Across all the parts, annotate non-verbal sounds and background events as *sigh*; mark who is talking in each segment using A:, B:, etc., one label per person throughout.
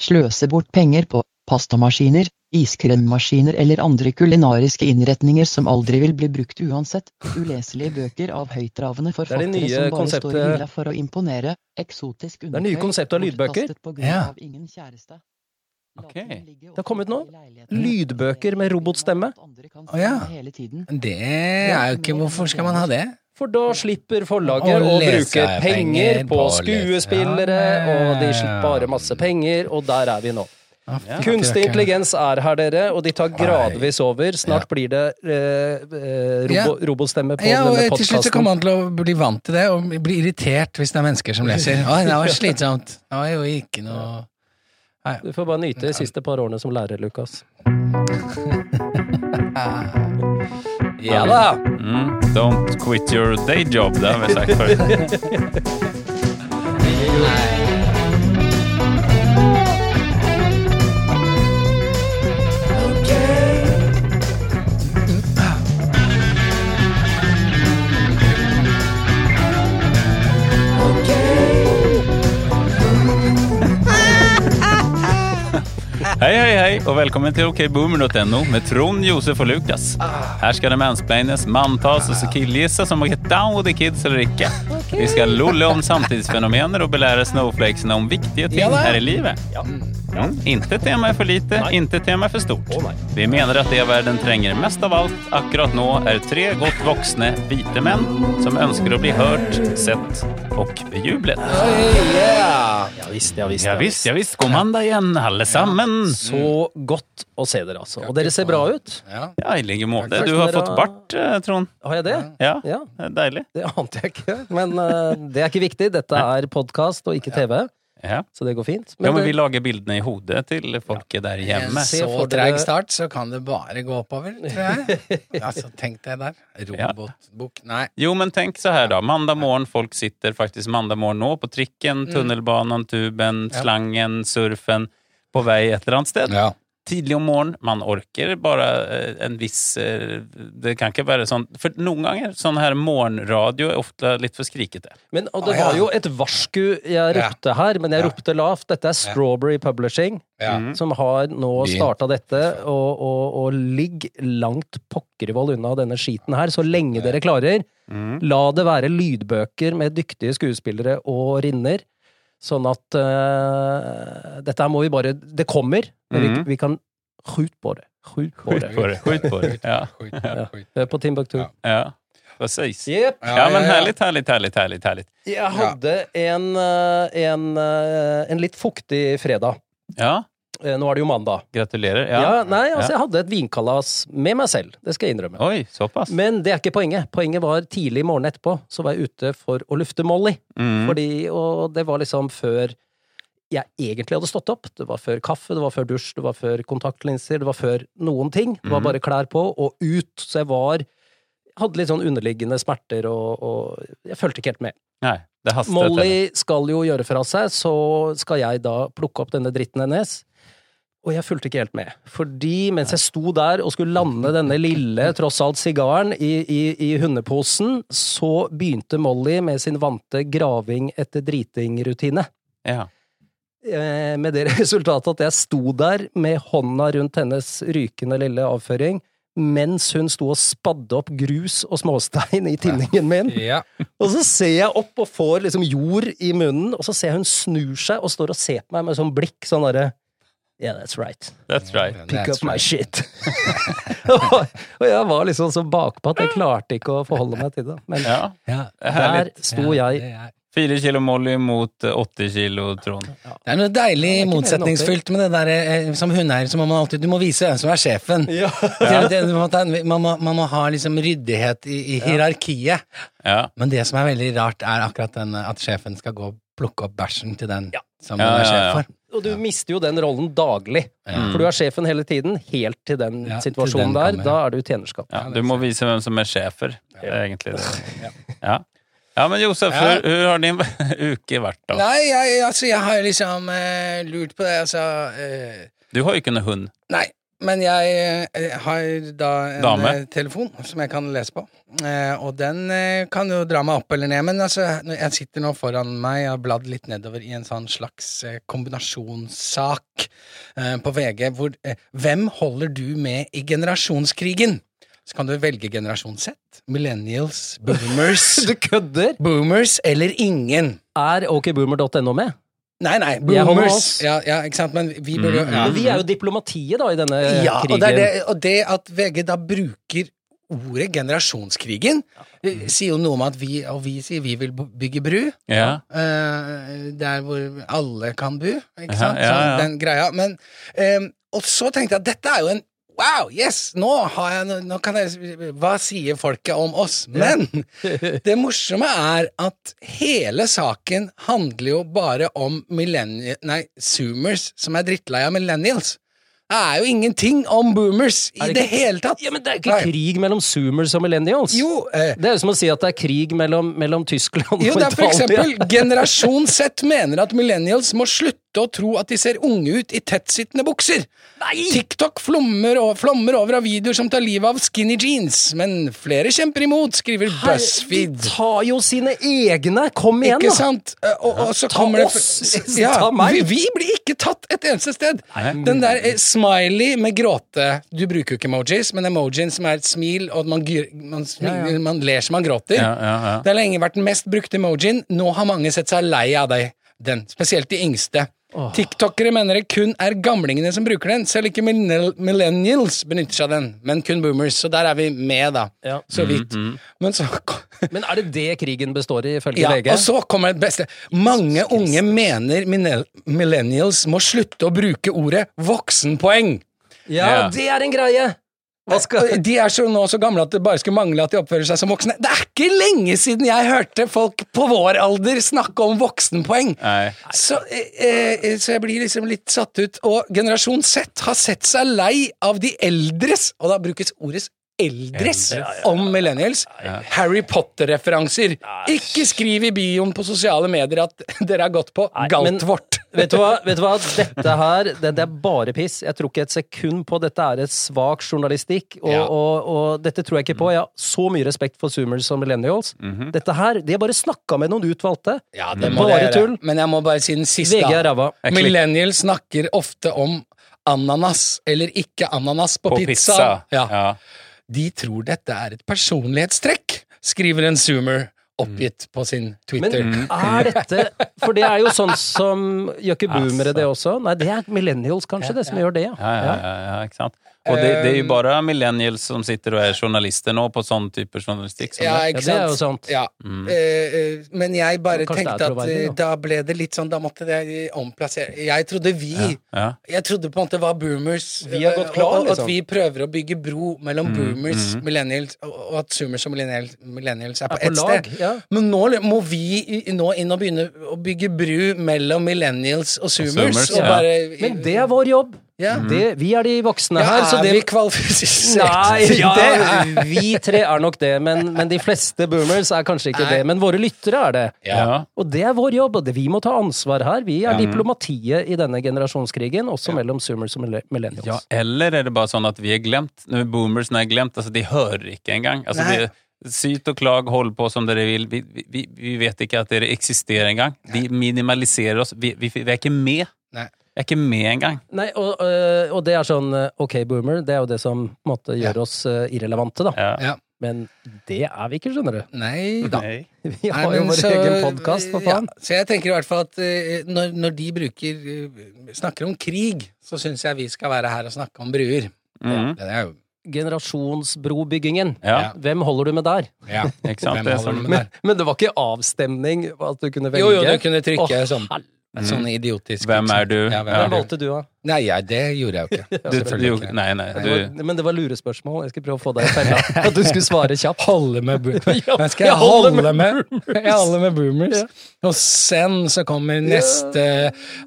A: sløse bort penger på pastamaskiner, iskremmaskiner eller andre kulinariske innretninger som aldri vil bli brukt uansett, uleselige bøker av høytravende
B: det
A: forfattere
B: nye
A: som bare står i
B: konseptet-
A: hylla for å imponere, eksotisk
B: er nye
A: undertøy,
B: konseptet av lydbøker.
A: bortkastet på grunn
C: Ja.
A: av ingen kjæreste.
D: Ok.
A: Laken ligger
B: har kommet nå.
A: ofte i leiligheten.
B: Lydbøker med robotstemme.
A: Andre kan
C: Å, ja.
A: se hele tiden.
C: Det er jo ikke Hvorfor skal man ha det?
B: For da slipper forlaget
C: Å
B: å
C: lese
B: bruke
C: er
B: penger
C: penger
B: på
C: på å lese.
B: skuespillere,
C: Ja, men- eh,
B: og de slipper bare masse penger, og der er vi nå.
C: Ah, fytti
B: Kunstig
C: rakkeren.
B: intelligens er her, dere, og de tar gradvis over. Snart blir det eh, eh, robo, robostemme på
C: Ja,
B: denne
C: og til slutt
B: podkasten.
C: så kommer han til å bli vant til det, og bli irritert hvis det er mennesker som leser. Å, det var slitsomt. Det var jo ikke noe
B: Du får bare nyte de siste par årene som lærer,
C: *laughs*
B: Lukas. Ja da!
D: Mm, don't quit your day job, det har vi sagt før. Hei, hei, hei, og velkommen til okboomer.no med Trond, Josef og Lukas. Her skal det mansplaines, manntas og så killgissas om å get down with the kids eller ikke. Vi skal lolle om samtidsfenomener og belære snowflakesene om viktige ting
C: Ja da.
D: her i livet. Mm. Inte tema er for lite, inte tema er for stort.
B: Å, nei.
D: Vi mener at det verden trenger mest av alt akkurat nå, er tre godt voksne hvite menn som ønsker å bli hørt, sett og bejublet.
B: Ja visst, ja visst.
D: Ja visst, ja visst, kom han da igjen, alle sammen.
B: Så godt å se dere, altså. Og dere ser bra ut.
C: Ja.
D: Ja, i like måte.
B: Takk.
D: Du har
B: Dere-
D: fått bart, eh, Trond.
B: Har jeg det?
D: Ja,
B: Ja.
D: det er deilig.
B: Det ante jeg ikke, men eh, det er ikke viktig. Dette er podkast og ikke TV,
D: Ja.
B: så det går fint.
D: ja, men
B: det-
D: vi lager bildene i hodet til folket der hjemme.
B: Yes.
C: Så
B: for dere-
C: treg start, så kan det bare gå oppover, tror jeg. Altså, tenk det der. Robotbukk Nei.
D: Jo, men tenk så her da. Mandag morgen, folk sitter faktisk mandag morgen nå på trikken, tunnelbanen, tuben,
C: Ja.
D: slangen, surfen, på vei et eller annet sted.
C: Ja.
D: tidlig om morgenen. Man orker bare eh, en viss eh, Det kan ikke være sånn For noen ganger sånn her morgenradio er ofte litt for skrikete.
B: Men, og det
C: Å,
D: Ah,
C: ja.
B: var jo et varsku jeg ropte her, men jeg
C: Ja.
B: ropte lavt. Dette er Strawberry Publishing,
C: ja.
D: Mm.
B: som har nå
C: Byen.
B: starta dette. Og, og, og ligg langt pokkervoll unna denne skiten her, så lenge dere klarer.
D: mm.
B: La det være lydbøker med dyktige skuespillere og rinner. Sånn at eh, Dette her må vi bare Det kommer, men
D: Mhm.
B: vi, vi kan skjut på det. Skjut på det.
D: På det. Skjut på det. Ja.
C: Skjut,
B: Ja.
C: skjut.
B: Det er På Timbuktu.
C: Ja.
D: ja. Precis.
B: Jepp.
C: Ja,
D: Ja, men
C: ja, ja.
D: herlig, herlig, herlig. herlig, herlig.
B: Jeg hadde en, eh, en, eh, en litt fuktig fredag.
D: Ja,
B: Eh, Nå er det jo mandag.
D: gratulerer.
B: Ja,
D: Ja.
B: nei, altså Jeg
D: Ja.
B: hadde et vinkalas med meg selv, det skal jeg innrømme.
D: Oi, såpass.
B: Men det er ikke poenget. Poenget var tidlig morgen etterpå, så var jeg ute for å lufte Molly.
D: Mm.
B: Fordi, og det var liksom før jeg egentlig hadde stått opp. Det var før kaffe, det var før dusj, det var før kontaktlinser, det var før noen ting. Det var
D: Mhm.
B: bare klær på og ut. Så jeg var Hadde litt sånn underliggende smerter og, og Jeg fulgte ikke helt med.
D: Nei, Altså, det haster. dette.
B: Molly skal jo gjøre fra seg, så skal jeg da plukke opp denne dritten hennes. Og jeg fulgte ikke helt med. Fordi mens jeg sto der og skulle lande denne lille, tross alt, sigaren i, i, i hundeposen, så begynte Molly med sin vante graving etter driting-rutine.
D: Ja.
B: Eh, med det *laughs* resultatet at jeg sto der med hånda rundt hennes rykende lille avføring, mens hun sto og spadde opp grus og småstein i tinningen min.
C: Ja.
B: Og så ser jeg opp og får liksom jord i munnen, og så ser jeg hun snur seg og står og ser på meg med sånn blikk, sånn derre Yeah, that's right.
D: That's right.
B: Pick
C: That's
B: up my
C: right.
B: shit. *laughs* og jeg var liksom så bakpå at jeg klarte ikke å forholde meg til det. Men
D: Ja.
C: Ja.
B: der
D: Herlig.
B: sto jeg.
C: det er-
D: Fire kilo Molly mot eh, 80 kilo Trond.
C: Det er noe deilig
B: ikke mer enn
C: motsetningsfylt med det der eh, som hundeeier, så må man alltid Du må vise hvem som er sjefen.
B: Ja.
C: Det- det- Man, må ta en- man, må, man må ha liksom ryddighet i, i hierarkiet.
D: Ja.
C: Men det som er veldig rart, er akkurat den eh, at sjefen skal gå og plukke opp bæsjen til den
B: Ja.
C: som
D: Ja,
C: man er
D: ja,
C: sjef
D: ja.
C: for.
B: Og du mister jo den rollen daglig.
D: mm.
C: Ja.
B: For du er sjefen hele tiden, helt til den
C: Ja, til
B: situasjonen
C: den
B: der.
C: kommer,
B: Da
C: ja.
B: er du tjenerskap.
D: ja.
C: Ja, det
D: Du
C: er
D: må
C: sant.
D: vise hvem som er sjefer. Det er
C: Ja.
D: egentlig det. Ja. Ja, men Josef,
C: Ja.
D: hur, hur har din *laughs* uke vært, da?
C: Nei, jeg, altså, jeg har jo liksom eh, lurt på det, altså eh,
D: Du har jo ikke noe hund.
C: Nei, Men jeg eh, har da en
D: Dame.
C: eh, telefon som jeg kan lese på. Eh, og den eh, kan jo dra meg opp eller ned, men altså, når jeg sitter nå foran meg og har bladd litt nedover i en sånn slags eh, kombinasjonssak eh, på VG hvor eh, Hvem holder du med i generasjonskrigen? Så kan du velge generasjon Z, millennials, boomers,
B: *laughs* Du kødder!
C: boomers eller ingen.
B: Er okboomer.no med?
C: Nei, nei,
B: Jeg holder med
C: boomers.
B: oss.
C: Ja, ja, ikke sant, men vi burde jo
D: Mm.
C: ja.
B: Men vi er jo diplomatiet, da, i denne
C: Ja,
B: eh, krigen.
C: og det, er det, og det at VG da bruker ordet generasjonskrigen, eh, sier jo noe om at vi, og vi sier vi vil bygge bru,
D: Ja.
C: eh, der hvor alle kan bo, ikke
D: Ja,
C: sant?
D: ja,
C: Sånn,
D: ja.
C: den greia. Men, eh, og så tenkte jeg at dette er jo en Wow, yes! Nå har jeg no- Nå kan jeg Hva sier folket om oss? Men
B: *laughs*
C: det morsomme er at hele saken handler jo bare om millenni... Nei, zoomers som er drittlei av millennials. Det er jo ingenting om boomers i
B: Er det
C: det,
B: ikke-
C: hele tatt.
B: Ja, men det er jo ikke krig mellom zoomers og millennials!
C: Jo, eh,
B: Det er jo som å si at det er krig mellom, mellom Tyskland
C: Jo,
B: og
C: det er for
B: Italia.
C: eksempel Generasjon Z mener at millennials må slutte å tro at de ser unge ut i tettsittende bukser. TikTok flommer, og, flommer over av videoer som tar livet av skinny jeans, men flere kjemper imot, skriver
B: Her-
C: BuzzFeed.
B: De tar jo sine egne! Kom igjen,
C: Ikke
B: da!
C: sant? Eh, Og, og så
B: Ta
C: kommer det
B: oss,
C: ja,
B: ta meg.
C: Vi, vi blir ikke tatt et eneste sted. Den der eh, smiley med gråte Du bruker jo ikke emojis, men emojien som er et smil, og at man, gyr, man, smiler, man ler som man gråter.
D: Ja, ja, ja.
C: Det har lenge vært den mest brukte emojien. Nå har mange sett seg lei av deg. Den, spesielt de yngste. Tiktokere mener det kun er gamlingene som bruker den. Selv ikke millennial- millennials benytter seg av den, men kun boomers. Så der er vi med, da.
B: Ja.
C: Så vidt. Men så
B: Men er det det krigen består i, ifølge
C: ja,
B: VG?
C: og så kommer det beste. Mange unge mener minel- millennials må slutte å bruke ordet voksenpoeng.
B: ja,
D: Ja.
B: det er en greie! Hva skal
C: De er så nå så gamle at det bare skulle mangle at de oppfører seg som voksne. Det er ikke lenge siden jeg hørte folk på vår alder snakke om voksenpoeng.
D: Nei.
C: Så, eh, eh, så jeg blir liksom litt satt ut. Og generasjon Z har sett seg lei av de eldres, og da brukes ordet eldres om millennials. Harry Potter-referanser. Ikke skriv i bioen på sosiale medier at *laughs* dere har gått på
B: Nei, men-
C: Galtvort.
B: *laughs* Vet du hva? Vet du hva? Dette her det, det er bare piss. Jeg tror ikke et sekund på dette er et svak journalistikk. Og,
C: Ja.
B: og, og dette tror jeg ikke på. Jeg har så mye respekt for zoomers og millennials. Dette her, De har bare snakka med noen utvalgte.
C: Ja, det
B: Bare
C: dere gjøre.
B: tull.
C: Mm. Men jeg må bare si den siste.
B: VG er
C: da.
B: ræva.
D: Jeg klikker.
C: Millennials snakker ofte om ananas eller ikke ananas på,
D: På
C: pizza.
D: pizza.
C: Ja.
D: Ja.
C: De tror dette er et personlighetstrekk, skriver en zoomer oppgitt på sin
B: Men
C: Twitter.
B: er dette For det er jo sånn som Gjør ikke boomere det også? Nei, det er millennials kanskje, det som gjør det,
D: Ja, ja, ja, ja, ikke sant? Og det, det er
C: Um,
D: jo bare millennials som sitter og er journalister nå på sånn type journalistikk. Som
C: Ja,
D: det.
C: ikke
B: Ja, det er
C: sant?
B: jo sant. Mm.
C: Ja. Eh, eh, men jeg bare
B: Kanskje det er
C: tenkte at
B: troverdig,
C: eh, da ble det litt sånn Da måtte jeg omplassere Jeg trodde vi
D: Ja.
C: Jeg trodde på en måte var boomers. eh,
B: Vi har gått klar,
C: og, og,
B: liksom.
C: At vi prøver å bygge bro
B: Mm,
C: mellom boomers millennials, og, og at zoomers og millennials, millennials er på
B: på
C: ett
B: lag,
C: sted.
B: ja.
C: Men nå li- må vi i- nå inn og begynne å bygge bru mellom millennials og zoomers. Og
D: zoomers, ja.
C: bare,
B: Men det er vår jobb. Mm.
C: ja.
B: Det, vi er de voksne
C: Ja,
B: her, så
C: er
B: det
C: vi kvalifisert? *laughs*
B: Nei,
C: til det
B: ja,
C: er
B: vi tre er nok det, men, men de fleste boomers er kanskje ikke
C: Nei.
B: det. Men våre lyttere er det.
D: Ja.
B: Og det er vår jobb, og det, vi må ta ansvar her. Vi er diplomatiet i denne generasjonskrigen, også mellom zoomers og mille- millennials.
D: Ja, eller er det bare sånn at vi er glemt? Når boomers er glemt, altså de hører ikke engang. Altså,
C: Nei.
D: det, syt og klag, hold på som dere vil. Vi, vi- vi, vi vet ikke at dere eksisterer engang. De minimaliserer oss. Vi, vi, vi er ikke med.
C: Nei.
D: Vi er ikke med engang.
B: Nei, og, øh, og det er sånn øh, OK, boomer, det er jo det som på en måte gjør
C: Ja.
B: oss øh, irrelevante, da.
D: Ja.
C: Ja.
B: Men det er vi ikke, skjønner du.
C: Nei da.
D: Nei.
B: *laughs* Vi
C: Nei,
B: har jo
C: men
B: vår
C: så-
B: egen podkast, for faen.
C: Ja, så jeg tenker i hvert fall at eh, når, når de bruker eh, snakker om krig, så syns jeg vi skal være her og snakke om bruer.
D: Mhm.
C: Det er jo
B: Generasjonsbrobyggingen.
D: Ja,
B: Hvem holder du med *laughs* der?
C: ja.
D: ikke sant?
C: Hvem
D: Det er
C: holder
D: sånn.
C: med
B: Men,
C: der?
B: men det var ikke avstemning at du kunne velge?
C: Jo, jo, du kunne trykke
B: Åh,
C: sånn. Sånn idiotisk.
D: Hvem er du?
C: Ja, hvem
D: Ja.
B: Hvem
C: er du?
B: valgte du, da?
C: Nei, ja, det gjorde jeg jo ikke.
D: Du,
C: Altså, Selvfølgelig
D: du,
C: ikke.
D: nei, nei.
B: Det
D: Du,
B: var, men det var lurespørsmål. Jeg skal prøve å få deg i *laughs* fella. At du skulle svare
D: *laughs*
B: kjapt. Holde
C: med bu-
B: ja,
C: Men skal jeg holde med, jeg holder med boomers? Og sen så kommer neste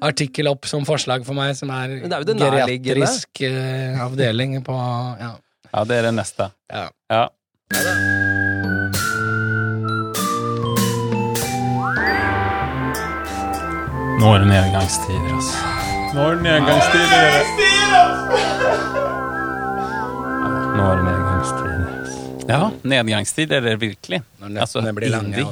C: artikkel opp som forslag for meg, som er,
B: Men det er jo det nærliggende.
C: geriatrisk eh, avdeling på ja.
D: ja, det er det neste.
C: ja.
D: Ja. Nå er det nedgangstider, altså. Nå er det nedgangstider.
E: Nå er det nedgangstid.
D: Ja, nedgangstid er det virkelig.
C: Når nettene
D: Altså,
C: blir lange,
D: ingenting.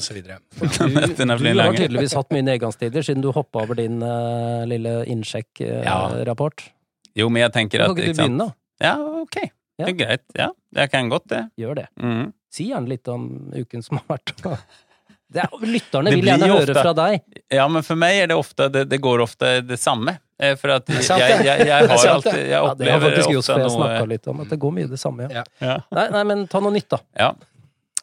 D: *laughs*
C: og så videre.
D: Nettene
B: Du
D: blir
B: har
D: lange.
B: tydeligvis hatt mye nedgangstider siden du hoppa over din eh, lille
D: Ja.
B: innsjekk-rapport.
D: Jo, men jeg tenker
B: kan
D: at
B: ikke du
D: ikke sant?
B: begynne, da?
D: Ja, ok. Det er greit. Ja, jeg kan godt det.
B: Gjør det.
D: Mm.
B: Si gjerne litt om uken som har vært.
D: *laughs*
B: Det er, lytterne
D: Det
B: vil
D: blir
B: gjerne
D: jo
B: høre
D: ofte-
B: fra deg.
D: Ja, men for meg er det ofte Det, det går ofte det samme. Eh, For at jeg,
C: sant, det.
D: jeg,
B: *laughs*
D: jeg, jeg har
C: sant, det.
D: alltid
B: Ja,
D: Jeg
B: det har
D: opplever
B: faktisk Josef
D: ofte
B: og jeg
D: noe
B: snakka litt om, at det går mye det samme. Ja.
C: Ja.
D: ja.
B: Nei, nei, men ta noe nytt, da.
D: Ja.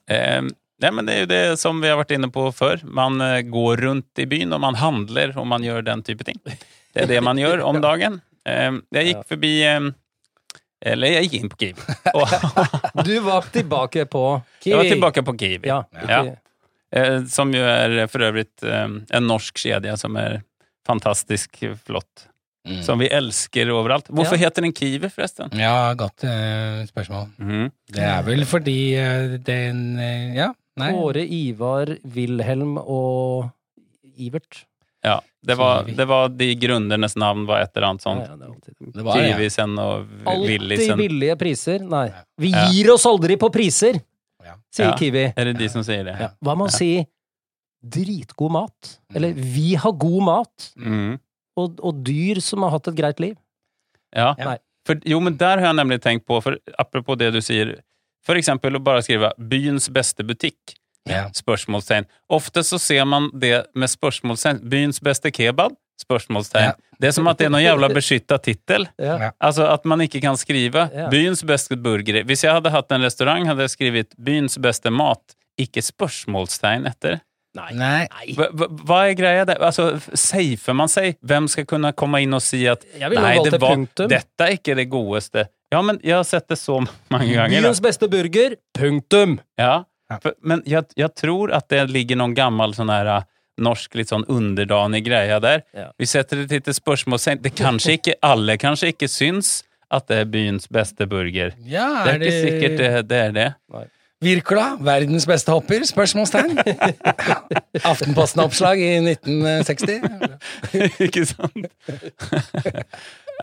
D: Eh, nej, men det är ju det som vi har varit inne på förr. Man eh, går runt i byn och man handlar och man gör den typen av ting. Det är det man gör
B: *laughs*
D: om dagen. Eh, jag gick
B: Ja.
D: förbi, eh, eller jag gick in på Kiev.
B: *laughs*
D: Och
B: Du var tilbake på Kiwi.
D: jag var tillbaka på Kiev.
B: Ja.
D: Ja.
B: Kiwi.
D: Eh, som ju är för övrigt eh, en norsk kedja som är fantastisk flott.
C: Mm.
D: Som vi älskar överallt. Varför
B: Ja.
D: heter den Kiev förresten?
C: Ja, godt eh, spørsmål.
D: Mm.
C: Det er vel fordi eh, den eh, Ja, nei.
B: Kåre, Ivar, Wilhelm og Ivert.
D: Ja, det var,
C: Kiev.
D: det var de grundernes namn var ett eller annat sånt.
B: Ja, ja, det er alltid-
C: Det var det.
D: Kivisen og
B: Alltid
D: Willisen.
B: billige priser. Nei. Vi
D: sånn. Ja.
B: gir oss aldri på priser,
C: Ja.
B: sier
D: Ja.
B: Kiwi.
D: Er det de som sier det?
B: Hva med å si dritgod mat? Eller vi har god mat,
D: Mm.
B: og, og dyr som har hatt et greit liv.
D: Ja.
B: Nei.
D: For, jo, men der har jeg nemlig tenkt på, for apropos det du sier, for eksempel å bare skrive 'byens beste butikk'?
C: Ja.
D: Spørsmålstegn. Ofte så ser man det med spørsmålstegn. 'Byens beste kebab'? Spørsmålstegn.
C: Ja.
D: Det er som at det er noen jævla beskytta tittel.
B: Ja.
C: Ja.
D: Altså at man ikke kan skrive
B: Ja.
D: 'byens beste burger'. Hvis jeg hadde hatt en restaurant, hadde jeg skrevet 'byens beste mat'. Ikke spørsmålstegn etter.
C: Nei.
D: Hva- hva- Hva er greia der? Altså, safer man seg? Hvem skal kunne komme inn og si at
B: Jeg ville valgt
D: det
B: et punktum.
D: dette er ikke det godeste. Ja, men jeg har sett det så mange ganger.
B: Byens
D: Da.
B: beste burger. Punktum!
D: Ja.
C: Ja.
D: For, men jeg, jeg tror at det ligger noen gammel sånn her eh, norsk litt sånn underdanig greie der.
B: Ja.
D: Vi setter et lite spørsmålstegn. Det kanskje ikke alle kanskje ikke syns at det er byens beste burger.
C: Ja,
D: Det er ikke sikkert
B: eh.
D: det, det er det. *laughs*
C: Wirkola, verdens beste hopper?
B: *laughs*
C: Spørsmålstegn. Aftenposten-oppslag i 1960.
D: ikke sant?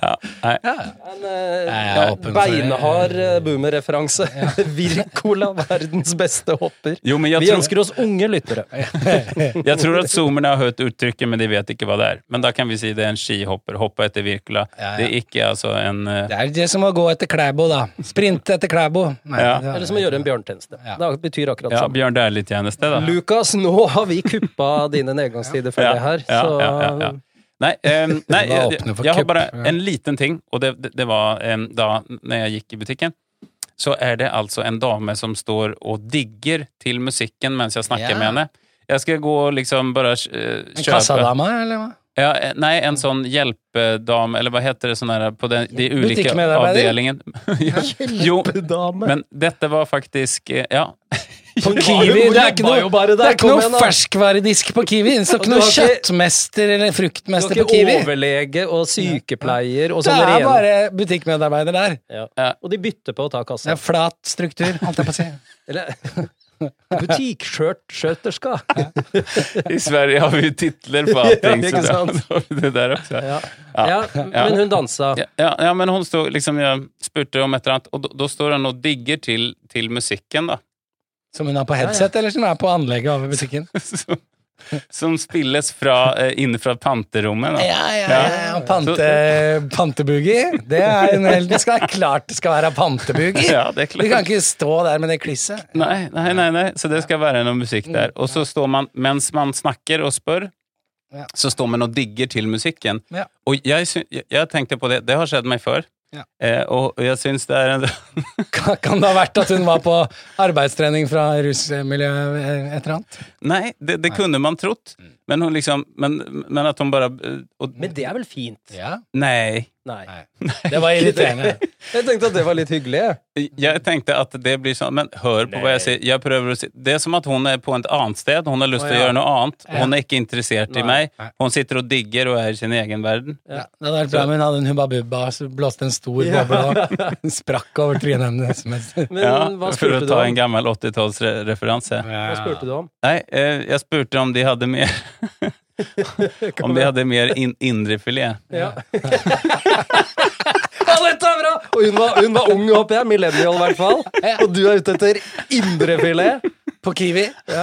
D: ja, nei.
B: En eh,
C: Jeg er
B: ja,
C: åpen for det.
B: beinhard eh, boomer-referanse. *laughs* Wirkola, verdens beste hopper.
D: Jo, men jeg
B: Vi
D: tror,
B: ønsker oss unge lyttere.
D: jeg tror at zoomerne har hørt uttrykket, men de vet ikke hva det er. Men da kan vi si det er en skihopper. Hoppa etter Wirkola.
C: Ja, ja.
D: Det er ikke altså en eh,
C: Det er det som å gå etter Klæbo, da. Sprinte etter Klæbo. Nei,
D: Ja.
C: det er-
B: Eller som å gjøre en bjørntjeneste.
C: Ja.
B: Det betyr akkurat det
D: Ja,
B: samme.
D: Bjørn Dæhlie-tjeneste, da.
B: Lukas, nå har vi kuppa dine nedgangstider for det her,
D: ja,
B: så
D: ja, ja, ja. Nei, ehm, nei
C: Det var
D: jeg,
C: åpne for
D: jeg har
C: kupp,
D: bare
C: ja.
D: en liten ting, og det, det, det var um, da når jeg gikk i butikken. Så er det altså en dame som står og digger til musikken mens jeg snakker
C: Ja.
D: med henne. Jeg skal gå og liksom bare eh,
C: En
D: kjøpe
C: kassadame, eller hva?
D: ja, eh, Nei, en sånn hjelpedam, eller hva heter det sånn her på den, de ulike
C: Butikkmedarbeider?
D: avdelingen. *laughs* Ja. jo, men dette var faktisk eh, Ja.
B: På
C: Kiwi, det er ikke noe-
B: bare
C: Det er ikke
B: kom
C: noe
B: igjen da.
C: ferskvaredisk på Kiwi. Det står
B: Og
C: ikke
B: du
C: noe
B: har ikke-
C: kjøttmester eller
B: Du har
C: fruktmester på
B: ikke
C: Kiwi.
B: overlege og sykepleier og
C: Det
B: sånn
C: er
B: ren
C: bare butikkmedarbeider der.
B: ja. Og de bytter på å ta
C: Det
B: kassa.
C: er flat struktur, *laughs* holdt jeg på å si.
B: Eller *laughs* butikkskjørtskjøterska.
D: I Sverige har vi jo
C: *laughs*
D: titler på allting,
B: Ja,
D: så
B: ikke
D: da-
B: sant?
D: så har vi det der også.
B: Ja. Ja, men hun dansa.
D: Ja, ja, ja, men hun stod, liksom, jeg spurte om et eller annet, og da- da står hun og digger til, til musikken, da.
C: Som hun har på headset, eller som er på anlegget over butikken.
D: *laughs* Som, som spilles fra, eh, inne fra panterommet. Da.
C: Ja, ja, ja, ja. Pante, Panteboogie. Det er en hel Det skal være klart det skal være panteboogie.
D: Ja, det er
C: Vi
D: klart.
C: kan ikke stå der med det klisset.
D: Nei, nei, nei, nei. Så det skal være noe musikk der.
C: Mm.
D: Og så står man, mens man snakker og spør,
C: Ja.
D: så står man og digger til musikken.
C: Ja.
D: Og jeg, sy- jeg- jeg tenkte på det, det har skjedd meg før.
C: Ja.
D: Eh, og og jeg syns det er en *laughs*
C: Kan, kan det ha vært at hun var på arbeidstrening fra rusmiljø eh, et eller annet?
D: Nei, det, det kunne man trodd,
C: Mm.
D: men hun liksom Men, men at hun bare eh, og,
B: Men det er vel fint?
C: Ja.
D: Nei.
B: Nei. *laughs*
C: Det var irriterende.
B: Jeg tenkte at det var litt hyggelig. jeg.
C: Mm.
D: Jeg tenkte at det blir sånn, men hør på hva jeg sier. Jeg prøver å si Det er som at hun er på et annet sted, hun har lyst til å
C: ja.
D: gjøre noe annet. Hun er ikke interessert i meg.
C: Nei.
D: Hun sitter og digger og er i sin egen verden.
C: Ja, det hadde vært bra om hun hadde en Hubba Bubba så blåste en stor boble og *laughs* den sprakk over trynet hennes. mens-
B: Men
D: Ja,
B: hva
D: for å
B: spurte du
D: ta en
B: om?
D: gammel 80-tallsreferanse.
B: Hva spurte du
D: *laughs*
B: om?
D: Nei, eh, jeg spurte om de hadde mer
C: *laughs*
D: Om de hadde mer in indrefilet.
B: Ja. Ja, dette er bra! Og hun var, hun var ung, håper jeg. Millennial, i hvert fall. Og du er ute etter indrefilet.
C: På Kiwi.
B: Ja,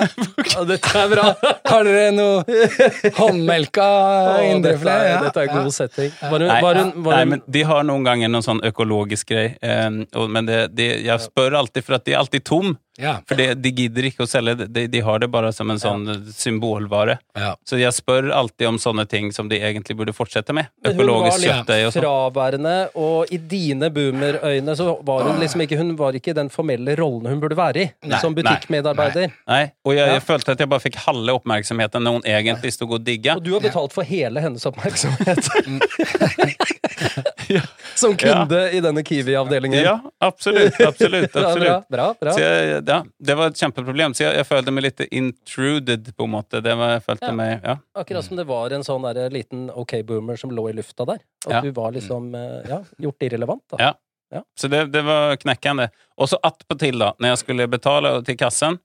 B: dette er bra.
C: Har dere noe håndmelka
B: Å, dette,
C: indrefilet?
B: er,
C: *laughs* Ja,
B: dette er
C: ja.
B: god setting. Var hun,
D: Nei,
B: var hun, var
D: nei,
B: hun
D: men de har noen ganger noen sånn økologisk greie, eh, og- men det, det, jeg spør alltid, for at det er alltid tom.
C: Ja.
D: For det, de gidder ikke å selge, det. de, de har det bare som en sånn symbolvare.
C: Ja.
D: Så jeg spør alltid om sånne ting som de egentlig burde fortsette med.
B: Men hun var
D: Økologisk
B: litt
D: kjøttdeig og sånn.
B: fraværende, og i dine boomerøyne så var hun liksom ikke Hun var ikke i den formelle rollen hun burde være i,
D: Ah. Nei,
B: som butikkmedarbeider.
D: Nei, og jeg,
B: Ja.
D: jeg følte at jeg bare fikk halve oppmerksomheten når hun egentlig stod og digga.
B: Og du har betalt for hele hennes
D: *laughs*
B: oppmerksomhet. Som kunde i denne Kiwi-avdelingen.
D: Ja, absolutt, absolutt,
B: Ja,
D: absolutt.
B: *laughs* bra, bra, bra.
D: Så jeg, ja, det var et kjempeproblem, så jeg, jeg følte meg litt intruded, på en måte. Det var, jeg følte
B: Ja.
D: meg, ja.
B: Akkurat som det var en sånn der, liten OK-boomer som lå i lufta der. At
D: Ja.
B: du var liksom eh, ja, gjort irrelevant, da.
D: Ja. Så det, det var knekkende. Og så attpåtil, da, når jeg skulle betale til kassen,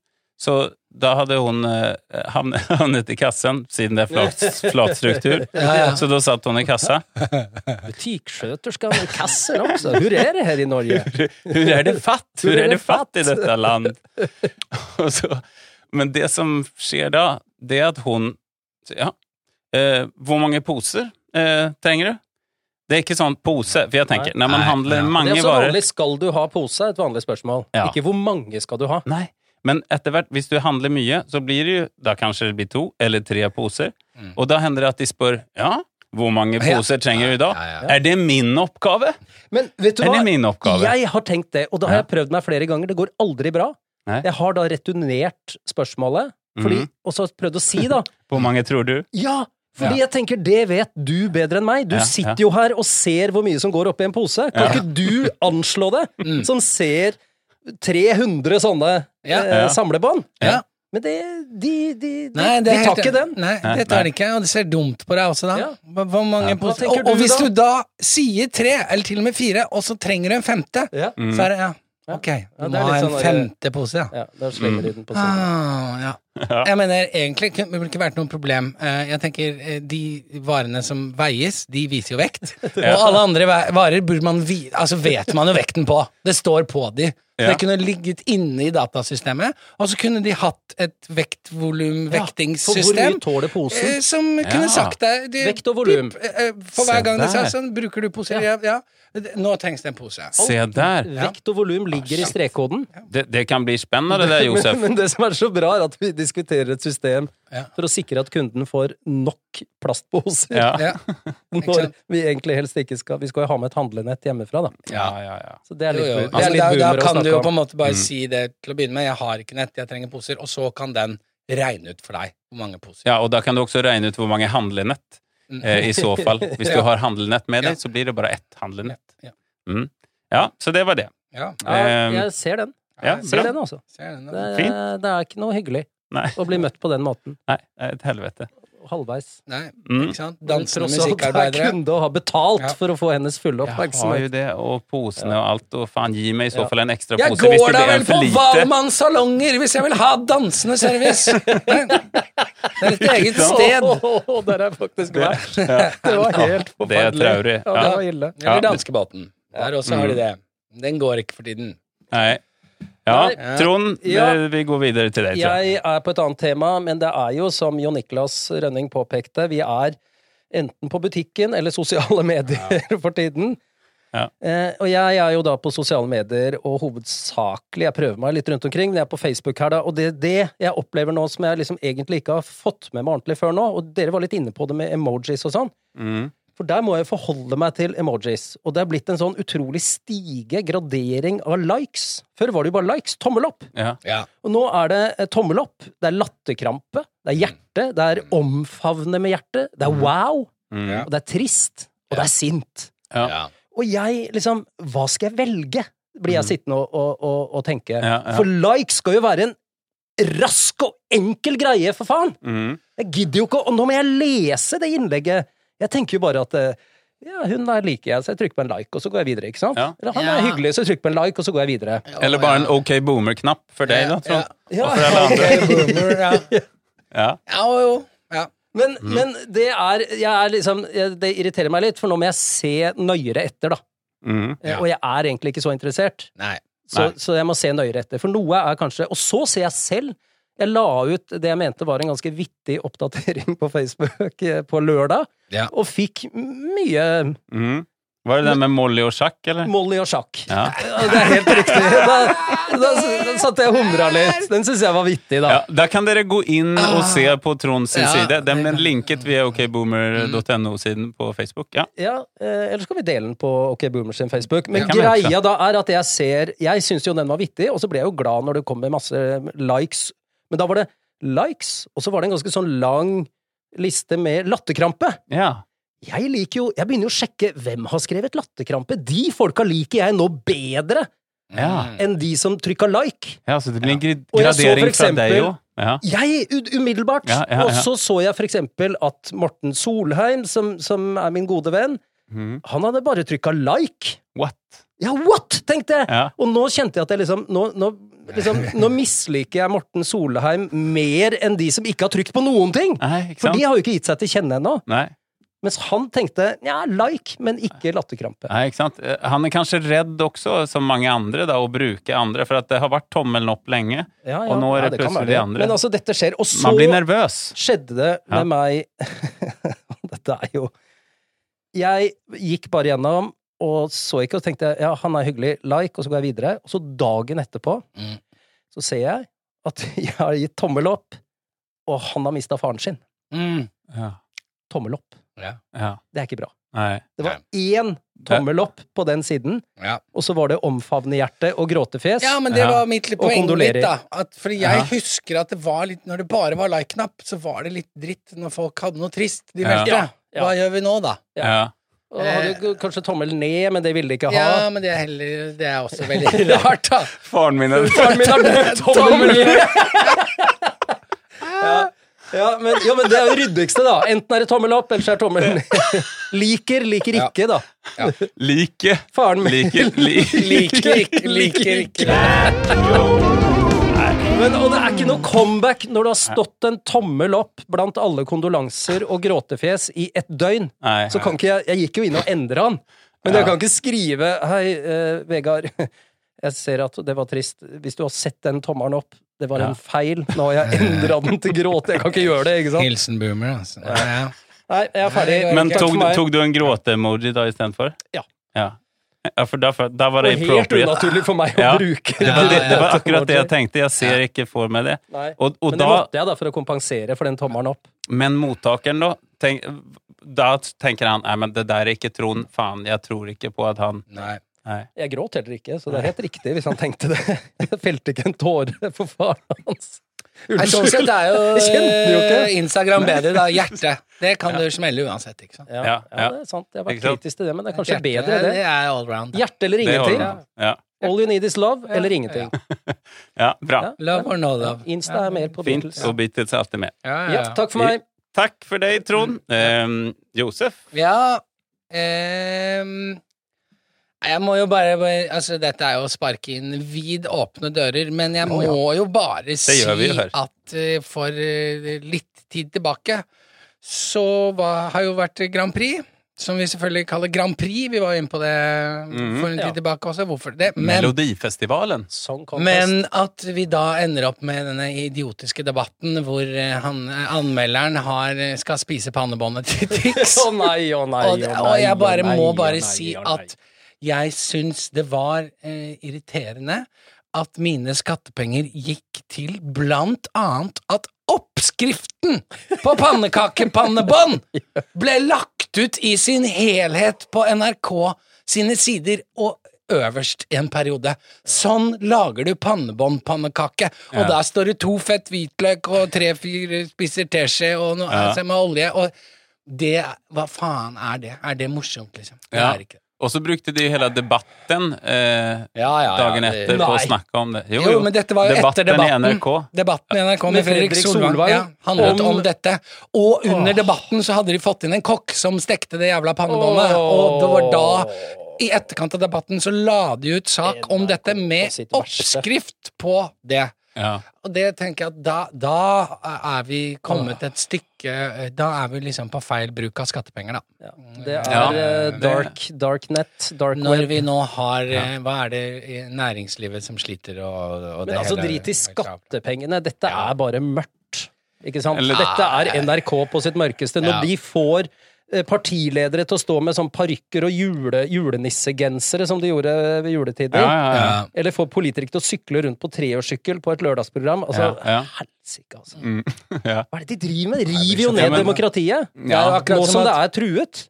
D: så da hadde hun eh, havnet, *laughs* havnet i kassen, siden det er flat,
B: *laughs*
D: flat struktur. Så da satt hun i kassa.
B: Butikksköterska med kasser også. Hvor er det her i Norge?
D: Hvor er det fatt? Hvor er det fatt i dette land? *laughs* Og så, men det som skjer da, det er at hun sier, ja, eh, hvor mange poser eh, trenger du? Det er ikke sånn pose, for jeg tenker, når man
C: Nei, ja.
D: handler
B: Det
D: mange
B: er så
D: varer
B: vanlig 'skal du ha pose'? Et vanlig spørsmål.
D: Ja.
B: Ikke 'hvor mange skal du ha'?
D: Nei, men etter hvert, hvis du handler mye, så blir det jo Da kanskje det blir to eller tre poser. Og da hender det at de spør Ja, hvor mange
C: Ja.
D: poser trenger du i dag?
C: Ja, ja,
D: Er det min oppgave?
B: Men vet du
D: Er
B: hva?
D: det min oppgave?
B: Jeg har tenkt det, og det har
D: Ja.
B: jeg prøvd meg flere ganger. Det går aldri bra.
D: Nei.
B: Jeg har da returnert spørsmålet, fordi,
D: Mhm.
B: og så prøvd å si,
D: *laughs*
B: da
D: Hvor mange tror du?
B: Ja! Fordi jeg tenker, det vet du bedre enn meg. Du
D: Ja,
B: sitter
D: ja.
B: jo her og ser hvor mye som går oppi en pose. Kan ikke du anslå det,
C: *laughs*
B: som ser 300 sånne
C: Mm. Ja.
B: eh,
D: Ja.
B: samlebånd?
C: Ja.
B: Men det, de, de, de,
C: Nei, det
B: de
C: er
B: tar
C: helt-
B: ikke den.
C: Nei,
D: Nei,
C: det tar de ikke, og det ser dumt på deg også da.
B: Ja.
C: Hva- Hvor mange
D: Ja.
C: poser-
B: Hva tenker
C: og, og
B: du
C: hvis
B: da?
C: du da sier tre, eller til og med fire, og så trenger du en femte,
B: Ja.
C: så er det ja,
B: Ja.
C: ok, du
B: Ja, det er
C: må ha
B: litt
C: en
B: sånn der-
C: femte pose, ja.
B: Ja, da slenger
D: Mm.
B: de den på siden.
C: Ah, ja.
D: Ja.
C: Jeg mener, egentlig kunne- det burde ikke vært noe problem. Eh, Jeg tenker, eh, De varene som veies, de viser jo vekt.
B: *laughs*
C: Og alle andre va- varer burde man vi, altså vet man jo vekten på. Det står på de. Så
D: Ja.
C: Det kunne ligget inne i datasystemet, og så kunne de hatt et vektvolum-vektingssystem.
B: For hvor mye tåler posen?
C: Eh, som
D: Ja.
C: kunne sagt deg du,
B: Vekt og volum.
C: pip, eh, eh, For hver
D: Se
C: gang det sa
D: der.
C: sånn, bruker du pose? Ja. ja. Nå trengs det en pose.
D: Se der!
B: Vekt og volum
C: Ah,
B: ligger i strekkoden.
D: Det, det kan bli spennende, det der,
B: *laughs* Men,
D: Josef.
B: men det som er så bra, er at vi diskuterer et system
C: Ja.
B: for å sikre at kunden får nok plastposer.
D: Ja.
C: Ja.
B: *laughs* Når vi egentlig helst ikke skal Vi skal jo ha med et handlenett hjemmefra, da.
D: Ja, ja, ja.
B: Så det er
C: Jo,
B: litt,
C: jo.
B: bu- det
C: Altså,
B: er litt
C: da, da
B: boomer å
C: kan du jo
B: snakke
C: på
B: om. Mm.
C: en måte bare si det til å begynne med. Jeg har ikke nett, jeg trenger poser. Og så kan den regne ut for deg hvor mange poser. Mm,
D: Ja, og da kan du også regne ut hvor mange handlenett eh, i så fall. Hvis du
C: Ja.
D: har handlenett med
C: Ja.
D: deg, så blir det bare ett handlenett.
C: Ja.
D: Mm. Ja, så det var det.
C: Ja.
B: Ja,
D: ehm,
B: jeg ser den.
D: Ja,
B: Ser
D: bra.
B: den, altså.
C: Ser du
B: Det,
C: nå?
B: er-
D: Fint.
B: det er ikke noe hyggelig
D: Nei,
B: å bli møtt på den måten.
D: nei, et helvete.
B: Halvveis.
C: Nei,
D: Mm.
C: ikke sant? Dansende
B: Tross alt er
C: musikkarbeidere.
B: kunde og har betalt
C: Ja.
B: for å få hennes fulle
D: Jeg har jo
B: oppmerksomhet.
D: det, og posene og alt, og faen, gi meg i så
B: Ja.
D: fall en ekstra
C: Jeg
D: pose hvis
C: går
D: det
C: da
D: blir
C: vel på
D: en for lite.
C: Valmanns salonger hvis jeg vil ha dansende
D: *laughs*
C: service! Det er et eget
B: *laughs*
C: sted.
B: Åh, der er jeg faktisk verst. Det var helt forferdelig.
D: Det er traurig,
B: Ja,
D: ja.
B: det var ille.
C: *laughs* Eller
D: Ja. Mm.
C: danskebåten. Der også har de det. Den går ikke for tiden.
D: Nei. Ja,
B: Nei.
D: Trond,
B: Ja.
D: eh, vi går videre til deg, tror jeg.
B: Jeg er på et annet tema, men det er jo som Jon Niklas Rønning påpekte, vi er enten på butikken eller sosiale *laughs* medier for tiden.
D: Ja.
B: Eh, og jeg er jo da på sosiale medier, og hovedsakelig Jeg prøver meg litt rundt omkring, men jeg er på Facebook her, da. Og det er det jeg opplever nå, som jeg liksom egentlig ikke har fått med meg ordentlig før nå, og dere var litt inne på det med emojis og sånn.
D: Mm.
B: For der må jeg forholde meg til emojis. Og det er blitt en sånn utrolig stige gradering av likes. Før var det jo bare likes. Tommel opp.
D: Ja.
C: Ja.
B: Og nå er det eh, tommel opp, det er latterkrampe, det er hjerte, det er omfavne med hjerte, det er wow,
D: Mm. Mm.
C: Ja.
B: og det er trist, og det er sint.
D: Ja.
B: Og jeg, liksom, hva skal jeg velge? Blir jeg sittende og, og, og, og tenke.
D: Mm. Ja, ja.
B: For like skal jo være en rask og enkel greie, for faen!
D: Mm.
B: Jeg gidder jo ikke, å- og nå må jeg lese det innlegget. Jeg tenker jo bare at eh, ja, hun der liker jeg, så jeg trykker på en like, og så går jeg videre, ikke sant?
D: Ja.
B: Eller han er
C: Ja.
B: hyggelig, så jeg trykker på en like, og så går jeg videre.
D: Eller bare en OK boomer-knapp for deg, da, sånn. Trond.
B: Ja,
D: for alle andre.
B: *laughs*
C: Ok, boomer, ja.
D: Ja.
C: Ja, jo, jo. Ja.
B: Men,
D: Mm.
B: men det er, jeg er liksom, jeg- det irriterer meg litt, for nå må jeg se nøyere etter, da.
E: Mm.
C: Ja.
B: Og jeg er egentlig ikke så interessert.
C: Nei.
B: Så,
D: Nei.
B: så jeg må se nøyere etter. For noe er kanskje Og så ser jeg selv! Jeg la ut det jeg mente var en ganske vittig oppdatering på Facebook eh, på lørdag,
C: Ja.
B: og fikk mye
E: Mm.
D: Var det den med Molly og sjakk, eller?
B: Molly og sjakk.
D: Ja.
B: Ja, Det er helt riktig. Da, da, da satt jeg og humra litt. Den syns jeg var vittig, da.
D: Ja, Ah. där kan dere gå in och se på Trond sin
C: Ja,
D: sida. Den
C: det
D: blir
C: kan-
D: linket via Mm. okboomer.no-sidan på Facebook. Ja.
B: Ja, eh, eller så kan vi dele den på OK Boomers sin Facebook. Men
D: Det kan vi
B: greia da er at jeg ser Jeg syns jo den var vittig, og så ble jeg jo glad når det kom med masse likes. Men da var det likes, og så var det en ganske sånn lang liste med latterkrampe.
D: Ja.
B: Jeg liker jo Jeg begynner jo å sjekke hvem har skrevet latterkrampe. De folka liker jeg nå bedre
D: Ja.
C: Mm.
B: enn de som trykka like.
D: ja, så det blir en grid-
B: Och jag såg för
D: gradering fra
B: exempel-
D: deg òg. Ja.
B: Jeg, u- umiddelbart.
D: Ja, ja, ja.
B: Og så så jeg for eksempel at Morten Solheim, som, som er min gode venn,
D: Mm.
B: han hadde bare trykka like.
D: What?
B: Ja, what?! tenkte jeg!
D: Ja.
B: Og nå kjente jeg at jeg liksom Nå, nå, liksom,
D: *laughs*
B: nå misliker jeg Morten Solheim mer enn de som ikke har trykt på noen ting!
D: Nej, ikke
B: For
D: sant?
B: de har jo ikke gitt seg til kjenne ennå.
D: Nej.
B: Mens han tenkte ja, like, men ikke latterkrampe.
D: Nej, ikke sant? Eh, Han er kanskje redd også, som mange andre, da, å bruke andre. For at det har vært tommelen opp lenge.
B: Ja, ja,
D: Og nå er
B: ja,
D: det
B: kan være
D: plutselig de andre.
B: Men altså, dette skjer. Og så
D: Man blir nervøs.
B: skjedde det
D: Ja.
B: med *laughs* meg Dette er jo Jeg gikk bare gjennom og så ikke, og tenkte jeg, ja, han er hyggelig, like, og så går jeg videre. Og så dagen etterpå
C: Mm.
B: så ser jeg at *laughs* jeg har gitt tommel opp, og han har mista faren sin.
C: Mm.
D: Ja.
B: Tommel opp.
D: Ja.
B: Det er ikke bra.
D: Nej.
B: Det var én tommel opp på den siden,
C: Ja.
B: og så var det omfavne hjerte og gråtefjes.
C: ja, men det
D: Ja.
C: var mitt poeng
B: kondolerer.
C: litt, da. At, fordi jeg
D: Ja.
C: husker at det var litt Når det bare var like-knapp, så var det litt dritt når folk hadde noe trist. De
D: Ja.
C: meldte.
B: Ja.
C: Hva gjør vi nå, da?
D: Ja.
B: Og hadde jo kanskje tommel ned, men det ville de ikke ha.
C: Ja, men det er heller Det er
B: *laughs*
C: også veldig rart, da.
D: Faren min er
B: Faren min har døpt tommel ned! *laughs* ja. Ja, men, ja, men det er jo det ryddigste, da. Enten er det tommel opp, eller så er tommel ned. *laughs* Liker, liker
C: Ja.
B: ikke, da.
D: like.
B: Faren min
D: Liker,
B: *laughs*
D: li-
C: Liker ikke, liker ikke.
B: Men, og det er ikke noe comeback når du har stått en tommel opp blant alle kondolanser og gråtefjes i et døgn.
D: Nei.
B: Så kan ikke jeg Jeg gikk jo inn og endra han. Men jeg kan ikke skrive Hei, eh, Vegard. *laughs* Jeg ser at det var trist. Hvis du har sett den tommelen opp, det var
D: Ja.
B: en feil. Nå har jeg endra den til gråt. Jeg kan ikke gjøre det, ikke sant?
C: Hilsen boomer, altså. Ja, ja.
B: Nei, jeg er ferdig.
D: Men
B: Takk for
D: tog,
B: meg.
D: tog du en gråte-emoji da istedenfor?
B: Ja.
D: ja. Ja, for derfor, da var det
B: Og helt
D: appropriate.
B: unaturlig for meg å
D: Ja.
B: bruke
D: Det var, det, det
B: *laughs*
D: var
B: dette
D: akkurat det
B: tommelen.
D: jeg tenkte. Jeg ser ikke for meg det.
B: Nei.
D: Og, og
B: Men det
D: da,
B: måtte jeg da for å kompensere for den tommelen opp.
D: men mottakeren, da? Tenk, da tenker han nei, men det der er ikke Trond. Faen, jeg tror ikke på at han
C: Nei.
D: Nei.
B: Jeg gråt heller ikke, så det er helt riktig hvis han tenkte det. *laughs* Jeg felte ikke en tåre for faren hans.
C: Nei, sånn sett er jo,
B: *laughs* Jeg kjente jo ikke.
C: eh, Instagram bedre, da. Hjerte. Det kan du smelle uansett, ikke sant?
B: Ja, ja,
D: Ja, ja.
B: det er sant. Jeg var
D: Ikke sant?
B: kritisk til det, men det er kanskje
C: Hjerte,
B: bedre det.
C: Det er allround.
B: Hjerte eller
D: Det
B: ingenting.
D: holder. Ja.
B: All you need is love eller ingenting.
D: ja, bra.
B: Ja.
C: Love or no love.
B: Insta er mer på
D: Fint.
B: Beatles.
D: Og Beatles er alltid med.
C: Ja, ja,
B: Ja,
C: ja.
B: takk for meg.
D: Takk for deg, Trond.
B: Mm.
D: Ehm, Josef?
C: Ja ehm, nei, Jeg må jo bare bare- Altså, dette er jo å sparke inn vid åpne dører, men jeg må jo bare si
D: gjør vi jo her.
C: at eh, for eh, litt tid tilbake så var, har jo vært Grand Prix. Som vi selvfølgelig kaller Grand Prix. Vi var jo inne på det
D: Mhm.
C: for en
B: Ja.
C: tid tilbake også. Hvorfor det? Men,
D: Melodifestivalen.
B: Song contest.
C: men at vi da ender opp med denne idiotiske debatten hvor eh, han, eh, anmelderen har, eh, skal spise pannebåndet til
D: *laughs*
C: Tix.
B: Å nei, å nei, å
C: Og,
B: nei.
C: og jeg bare
B: å nei,
C: må
B: å nei,
C: bare si
B: å nei.
C: at jeg syns det var eh, irriterende at mine skattepenger gikk til blant annet at oppskriften på
D: *laughs*
C: pannekakepannebånd ble lagt ut i sin helhet på NRK sine sider og øverst i en periode. Sånn lager du pannebåndpannekake. Og
D: Ja.
C: der står det to fett hvitløk og tre-fire spisser teskje og noe
D: Ja.
C: altså, med olje. og det, hva faen er det? Er det morsomt, liksom? Det
D: Ja.
C: er ikke det.
D: Og så brukte de jo hele debatten eh, dagen etter på å
B: Nei.
D: snakke om det.
C: Jo, men dette var jo etter debatten. Mm,
D: i NRK.
C: Debatten i NRK med,
B: Med
C: Fredrik
B: Fredrik
C: Solvang,
B: Solvang,
C: ja, handlet om,
B: om-
C: dette. Og under
B: Åh.
C: debatten så hadde de fått inn en kokk som stekte det jævla pannebåndet, og det var da i etterkant av debatten så la de ut sak
B: Det
C: om
B: der
C: dette
B: kom på
C: med
B: sitt verste.
C: oppskrift på det.
D: Ja.
C: Og det tenker jeg at da, da er vi kommet et stykke ikke eh, Da er vi liksom på feil bruk av skattepenger, da.
B: Ja. Det er
D: Ja,
B: eh,
D: det-
B: dark, dark net, dark
C: Når
B: web.
C: vi nå har eh, Hva er det i næringslivet som sliter og, og det
B: Men altså,
C: hele-
B: drit i skattepengene. Dette
C: Ja.
B: er bare mørkt. Ikke sant?
D: Eller-
B: Dette er NRK på sitt mørkeste. Når
C: Ja.
B: de får eh, partiledere til å stå med sånn parykker og jule, julenissegensere, som de gjorde ved juletider.
D: Ja, ja, ja.
C: Ja.
B: Eller får politikere til å sykle rundt på treårssykkel på et lørdagsprogram. Altså,
D: Ja, ja.
B: helsike, altså.
D: Mm. ja.
B: Hva er det de driver med? De river jo
D: skjønner. Ja,
B: ned
D: men-
B: demokratiet.
D: Ja.
B: Det er akkurat Nå
C: som
B: som det
C: at-
B: er truet.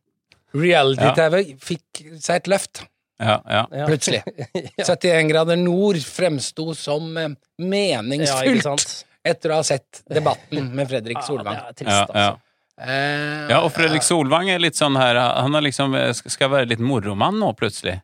C: Reality-TV fikk seg et løft,
D: ja, ja.
B: *laughs* Ja.
C: *laughs* plutselig. 71 grader nord fremsto som eh,
B: Ja, ikke
C: meningsfullt
B: sant? Ah,
C: etter å ha sett debatten med Fredrik Solvang.
B: Ja, det er trist,
D: Ja, ja.
B: altså.
C: Eh,
D: ja, og Fredrik Solvang er litt sånn her Han har liksom, eh, sk- skal være litt moromann nå, plutselig.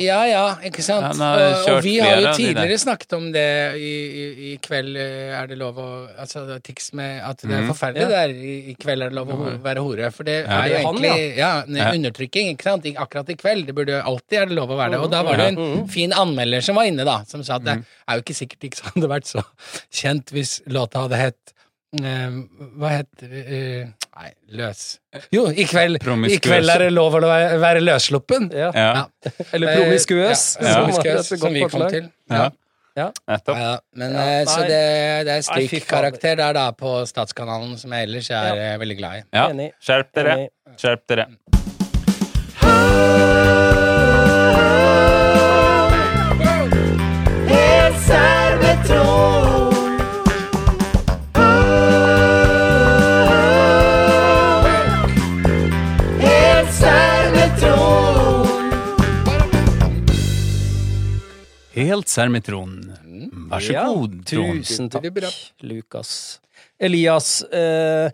C: Ja, ja, ikke sant.
D: Han har
C: Og, og
D: kjørt
C: vi har
D: flere
C: jo
D: av de der.
C: tidligere snakket om det i, i, i kveld eh, er det lov å Altså det er Tix med at det er
D: Mhm.
C: forferdelig der i, i kveld er det lov å ho- være hore. For det
D: Ja.
C: er jo
B: Det er han,
C: egentlig ja, n-
D: Ja.
C: undertrykking, ikke sant. Ikke Akkurat i kveld. Det burde jo alltid er det lov å være det. Og da
D: Mhm.
C: var det jo en fin anmelder som var inne, da, som sa at det er jo ikke sikkert Tix hadde vært så kjent hvis låta hadde hett eh, Hva het eh, Nei, løs Jo, i kveld, i
D: Promiskuøs.
C: kveld er det lov å være, være løssluppen.
B: Ja.
D: Ja,
B: *laughs* Eller promiskuøs.
C: Eh,
B: som
C: Ja,
D: som var
C: promiskuøs,
B: et godt
C: som vi kom
B: forslag.
C: til.
D: ja.
B: Ja.
D: Nettopp.
C: Ja, men,
B: Ja,
C: eh, så
B: nei.
C: det, det er
B: Nei, fy
C: strik
B: faen.
C: karakter der da på Statskanalen, som jeg ellers er eh, veldig glad i.
D: Ja.
B: Enig.
D: Skjerp dere.
B: Enig.
D: Skjerp dere. Helt sermitron. Vær så
B: Ja,
D: god, Trond.
B: Tusen
C: Det blir bra.
B: takk, Lukas. Elias, eh,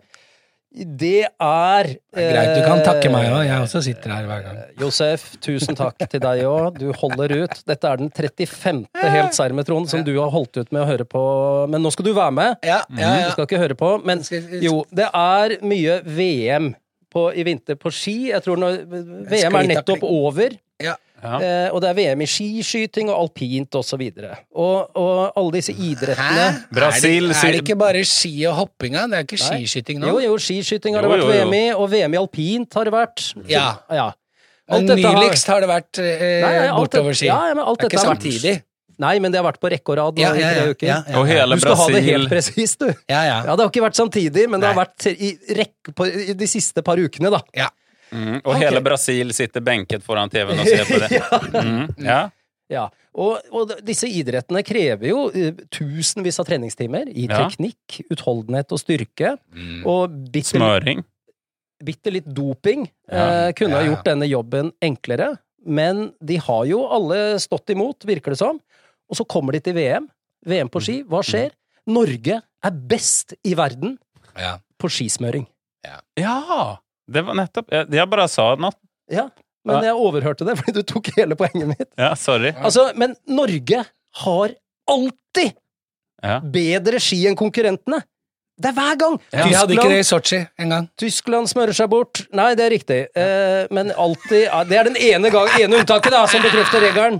B: det er
C: Det er greit, du kan takke
B: eh,
C: meg òg. Jeg også sitter her hver gang.
B: Josef, tusen takk til deg òg. Du holder ut. Dette er den 35. Helt serr med Trond, som du har holdt ut med å høre på. Men nå skal du være med.
C: Ja, ja,
B: Du skal ikke høre på. Men jo, det er mye VM på, i vinter på ski. Jeg tror når, VM er nettopp over.
C: Ja.
D: Ja.
B: Eh, og det er VM i skiskyting og alpint og så videre. Og, og alle disse idrettene
D: Brasil,
C: er, det, er det ikke bare ski og hoppinga? Det er ikke
B: Nei.
C: skiskyting nå?
B: Jo, jo, skiskyting har
D: Jo,
B: det vært
D: jo, jo.
B: VM i, og VM i alpint har det vært.
C: Ja.
B: ja.
C: Men
B: dette har-
C: nyligst har det vært
B: Nei,
C: eh,
B: nei, alt det-
C: bortoverski.
B: ja, ja, men alt
C: det er
B: dette
C: ikke
B: har vært-
C: samtidig.
B: Nei, men det har vært på rekke og rad nå
C: Ja, ja,
B: i
C: ja,
B: tre uker.
C: ja, ja.
D: Og hele
B: Du skal ha det
D: Brasil
B: helt presist, du.
C: Ja, ja.
B: Ja, det har ikke vært samtidig, men det har
C: Nei.
B: vært i rekke på, i de siste par ukene, da.
C: ja.
D: mm, Og hele
B: Ok.
D: Brasil sitter benket foran TV-en og ser på det. Mm, ja.
B: Ja, og, og disse idrettene krever jo eh, tusenvis av treningstimer i
D: Ja. Mm.
B: teknikk, utholdenhet og styrke.
C: Mm.
B: Og bitte,
D: Smøring.
B: bitte litt doping
D: Ja.
B: eh, kunne ha
C: Ja, ja.
B: gjort denne jobben enklere. Men de har jo alle stått imot, virker det som. Og så kommer de til VM. VM
D: Mm.
B: på ski. Hva skjer? Norge er best i verden
C: ja.
B: på skismøring.
D: Ja! Det var nettopp Jeg, jeg bare sa noe.
B: Ja, men
D: Ja.
B: jeg overhørte det, *laughs* fordi du tok hele poenget mitt.
D: Ja, sorry.
B: Altså, men Norge har alltid
D: Ja.
B: bedre ski enn konkurrentene. Det er hver gang!
C: Vi hadde ikke
B: Tyskland,
C: det i Sotsji engang.
B: Tyskland smører seg bort. Nei, det er riktig. Eh, men alltid ja, Det er den ene gang, ene unntaket da, som bekrefter regelen.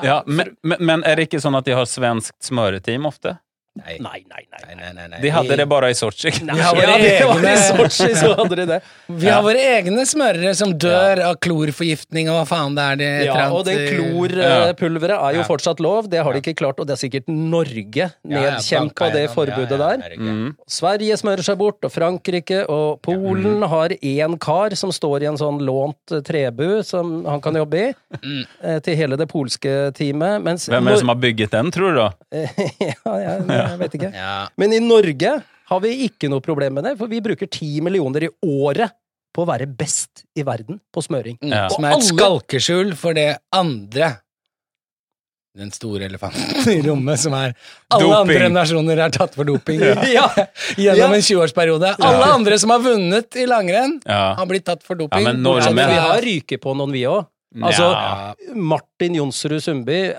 D: Ja, men, men, men er det ikke sånn at de har svenskt smøreteam ofte?
C: Nei.
B: Nei, nei, nei.
C: Nei, nei, nei, nei.
D: De hadde det bare i Sotsji.
B: nei.
C: har våre
B: Ja, det var i
C: egne-
B: Sotsji, så hadde de det.
C: Vi har våre egne smørere som dør av klorforgiftning og hva faen det er de *laughs* et
B: Ja,
C: eller annet,
B: og den
C: eh,
D: Ja.
B: klorpulveret er jo fortsatt lov. Det har de ikke klart, og det er sikkert Norge
C: Ja, ja,
B: nedkjempa
C: banka
B: det
C: gjennom.
B: forbudet
C: Ja, ja,
B: der.
C: herregud.
D: Mm.
B: Sverige smører seg bort, og Frankrike og Polen har én kar som står i en sånn lånt eh, trebu som han kan jobbe i, eh, til hele det polske teamet. Mens
D: Mm. Hvem er det som har bygget den, tror du? da?
B: *laughs* ja, jeg, jeg vet ikke.
C: Ja.
B: Men i Norge har vi ikke noe problem med det, for vi bruker ti millioner i året på å være best i verden på smøring.
D: Ja.
C: Som er
B: Mm.
C: et
B: alle-
C: skalkeskjul for det andre. Den store elefanten i rommet som er Alle
D: Doping.
C: andre nasjoner er tatt for doping
B: *laughs* Ja. Ja.
C: gjennom en 20-årsperiode. Alle andre som har vunnet i langrenn,
D: Ja.
C: har blitt tatt for doping.
D: men
B: Så vi
D: nordmenn-
C: bortsett fra-
B: har ryket på noen, vi òg. Altså,
D: Ja.
B: Martin Jonsrud Sundby, eh,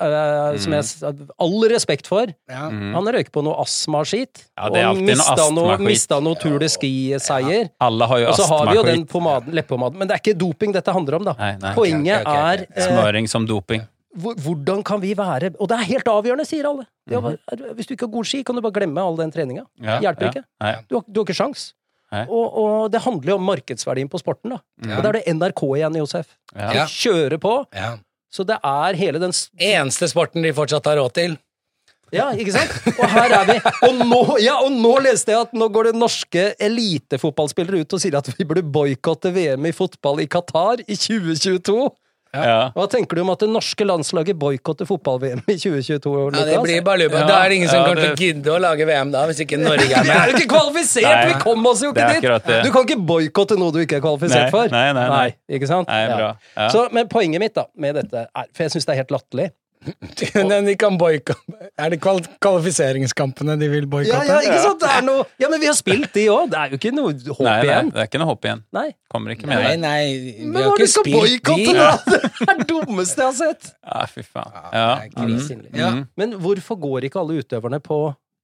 D: Mm.
B: som jeg s- all respekt for,
C: Ja.
B: han røyker på noe astmaskit.
D: Ja, det er
B: og
D: alltid noe
B: mista noe,
D: astmaskit.
B: mista noe Tour de Ski-seier.
D: Alle har jo
B: Og så har vi jo den
D: astmaskit.
B: pomaden, leppepomaden. Men det er ikke doping dette handler om, da.
D: Nei, nei.
B: Poenget
C: Ok, ok, ok, ok.
B: er eh,
D: Smøring som doping.
B: hvor- hvordan kan vi være Og det er helt avgjørende, sier alle.
D: Mhm.
B: De har bare, er- hvis du ikke har god ski, kan du bare glemme all den treninga.
D: Ja,
B: Hjelper
D: ja.
B: ikke.
D: Nei.
B: Du har, du har ikke sjans.
D: Nei.
B: Og, og det handler jo om markedsverdien på sporten, da.
C: Ja.
B: Og da er det NRK igjen, Josef.
D: Ja.
C: Ja.
B: Kjøre på.
C: Ja.
B: Så det er hele den s-
C: Eneste sporten de fortsatt har råd til.
B: Ja, ikke sant? Og her er vi. Og nå, ja, og nå leste jeg at nå går det norske elitefotballspillere ut og sier at vi burde boikotte VM i fotball i Qatar i 2022.
D: Ja.
B: Hva tenker du om at det norske landslaget boikotter fotball-VM i 2022?
C: Ja, det
B: Lukas?
C: blir baluba.
D: Ja,
C: da er det ingen som
D: ja,
C: kommer til
D: det-
C: å gidde å lage VM da, hvis ikke Norge er
B: Vi er
C: med.
B: jo ikke kvalifisert!
D: Nei,
B: vi kom oss jo
D: det
B: ikke
D: er
B: dit!
D: akkurat det.
B: Du kan ikke boikotte noe du ikke er kvalifisert
D: Nei,
B: for.
D: nei, nei, nei.
B: Ikke sant?
D: Nei, bra. Ja.
B: Så, men poenget mitt da, med dette er For jeg syns det er helt latterlig.
C: *laughs* Men de kan boykotte Er det kval kvalifiseringskampene de vil
B: Ja,
C: boikotte?
B: ja, ikke sant? Det er noe Ja, men vi har spilt de òg! Det er jo ikke noe håp
D: Nei, nei,
B: igjen.
D: det er ikke noe hopp igjen.
B: Nei.
D: Kommer ikke med
C: Nei,
D: der.
C: nei,
B: Men
C: vi
B: hva er
C: har
B: det
C: ikke
B: du skal
C: spilt
B: boikotte,
C: de.
B: da?! Det er det dummeste jeg har sett!
D: Ja, fy faen. Ja.
C: Ja, det er
D: Mm.
B: Grisinlig.
C: Ja.
D: Mm.
B: Mhm. Men hvorfor går ikke alle utøverne på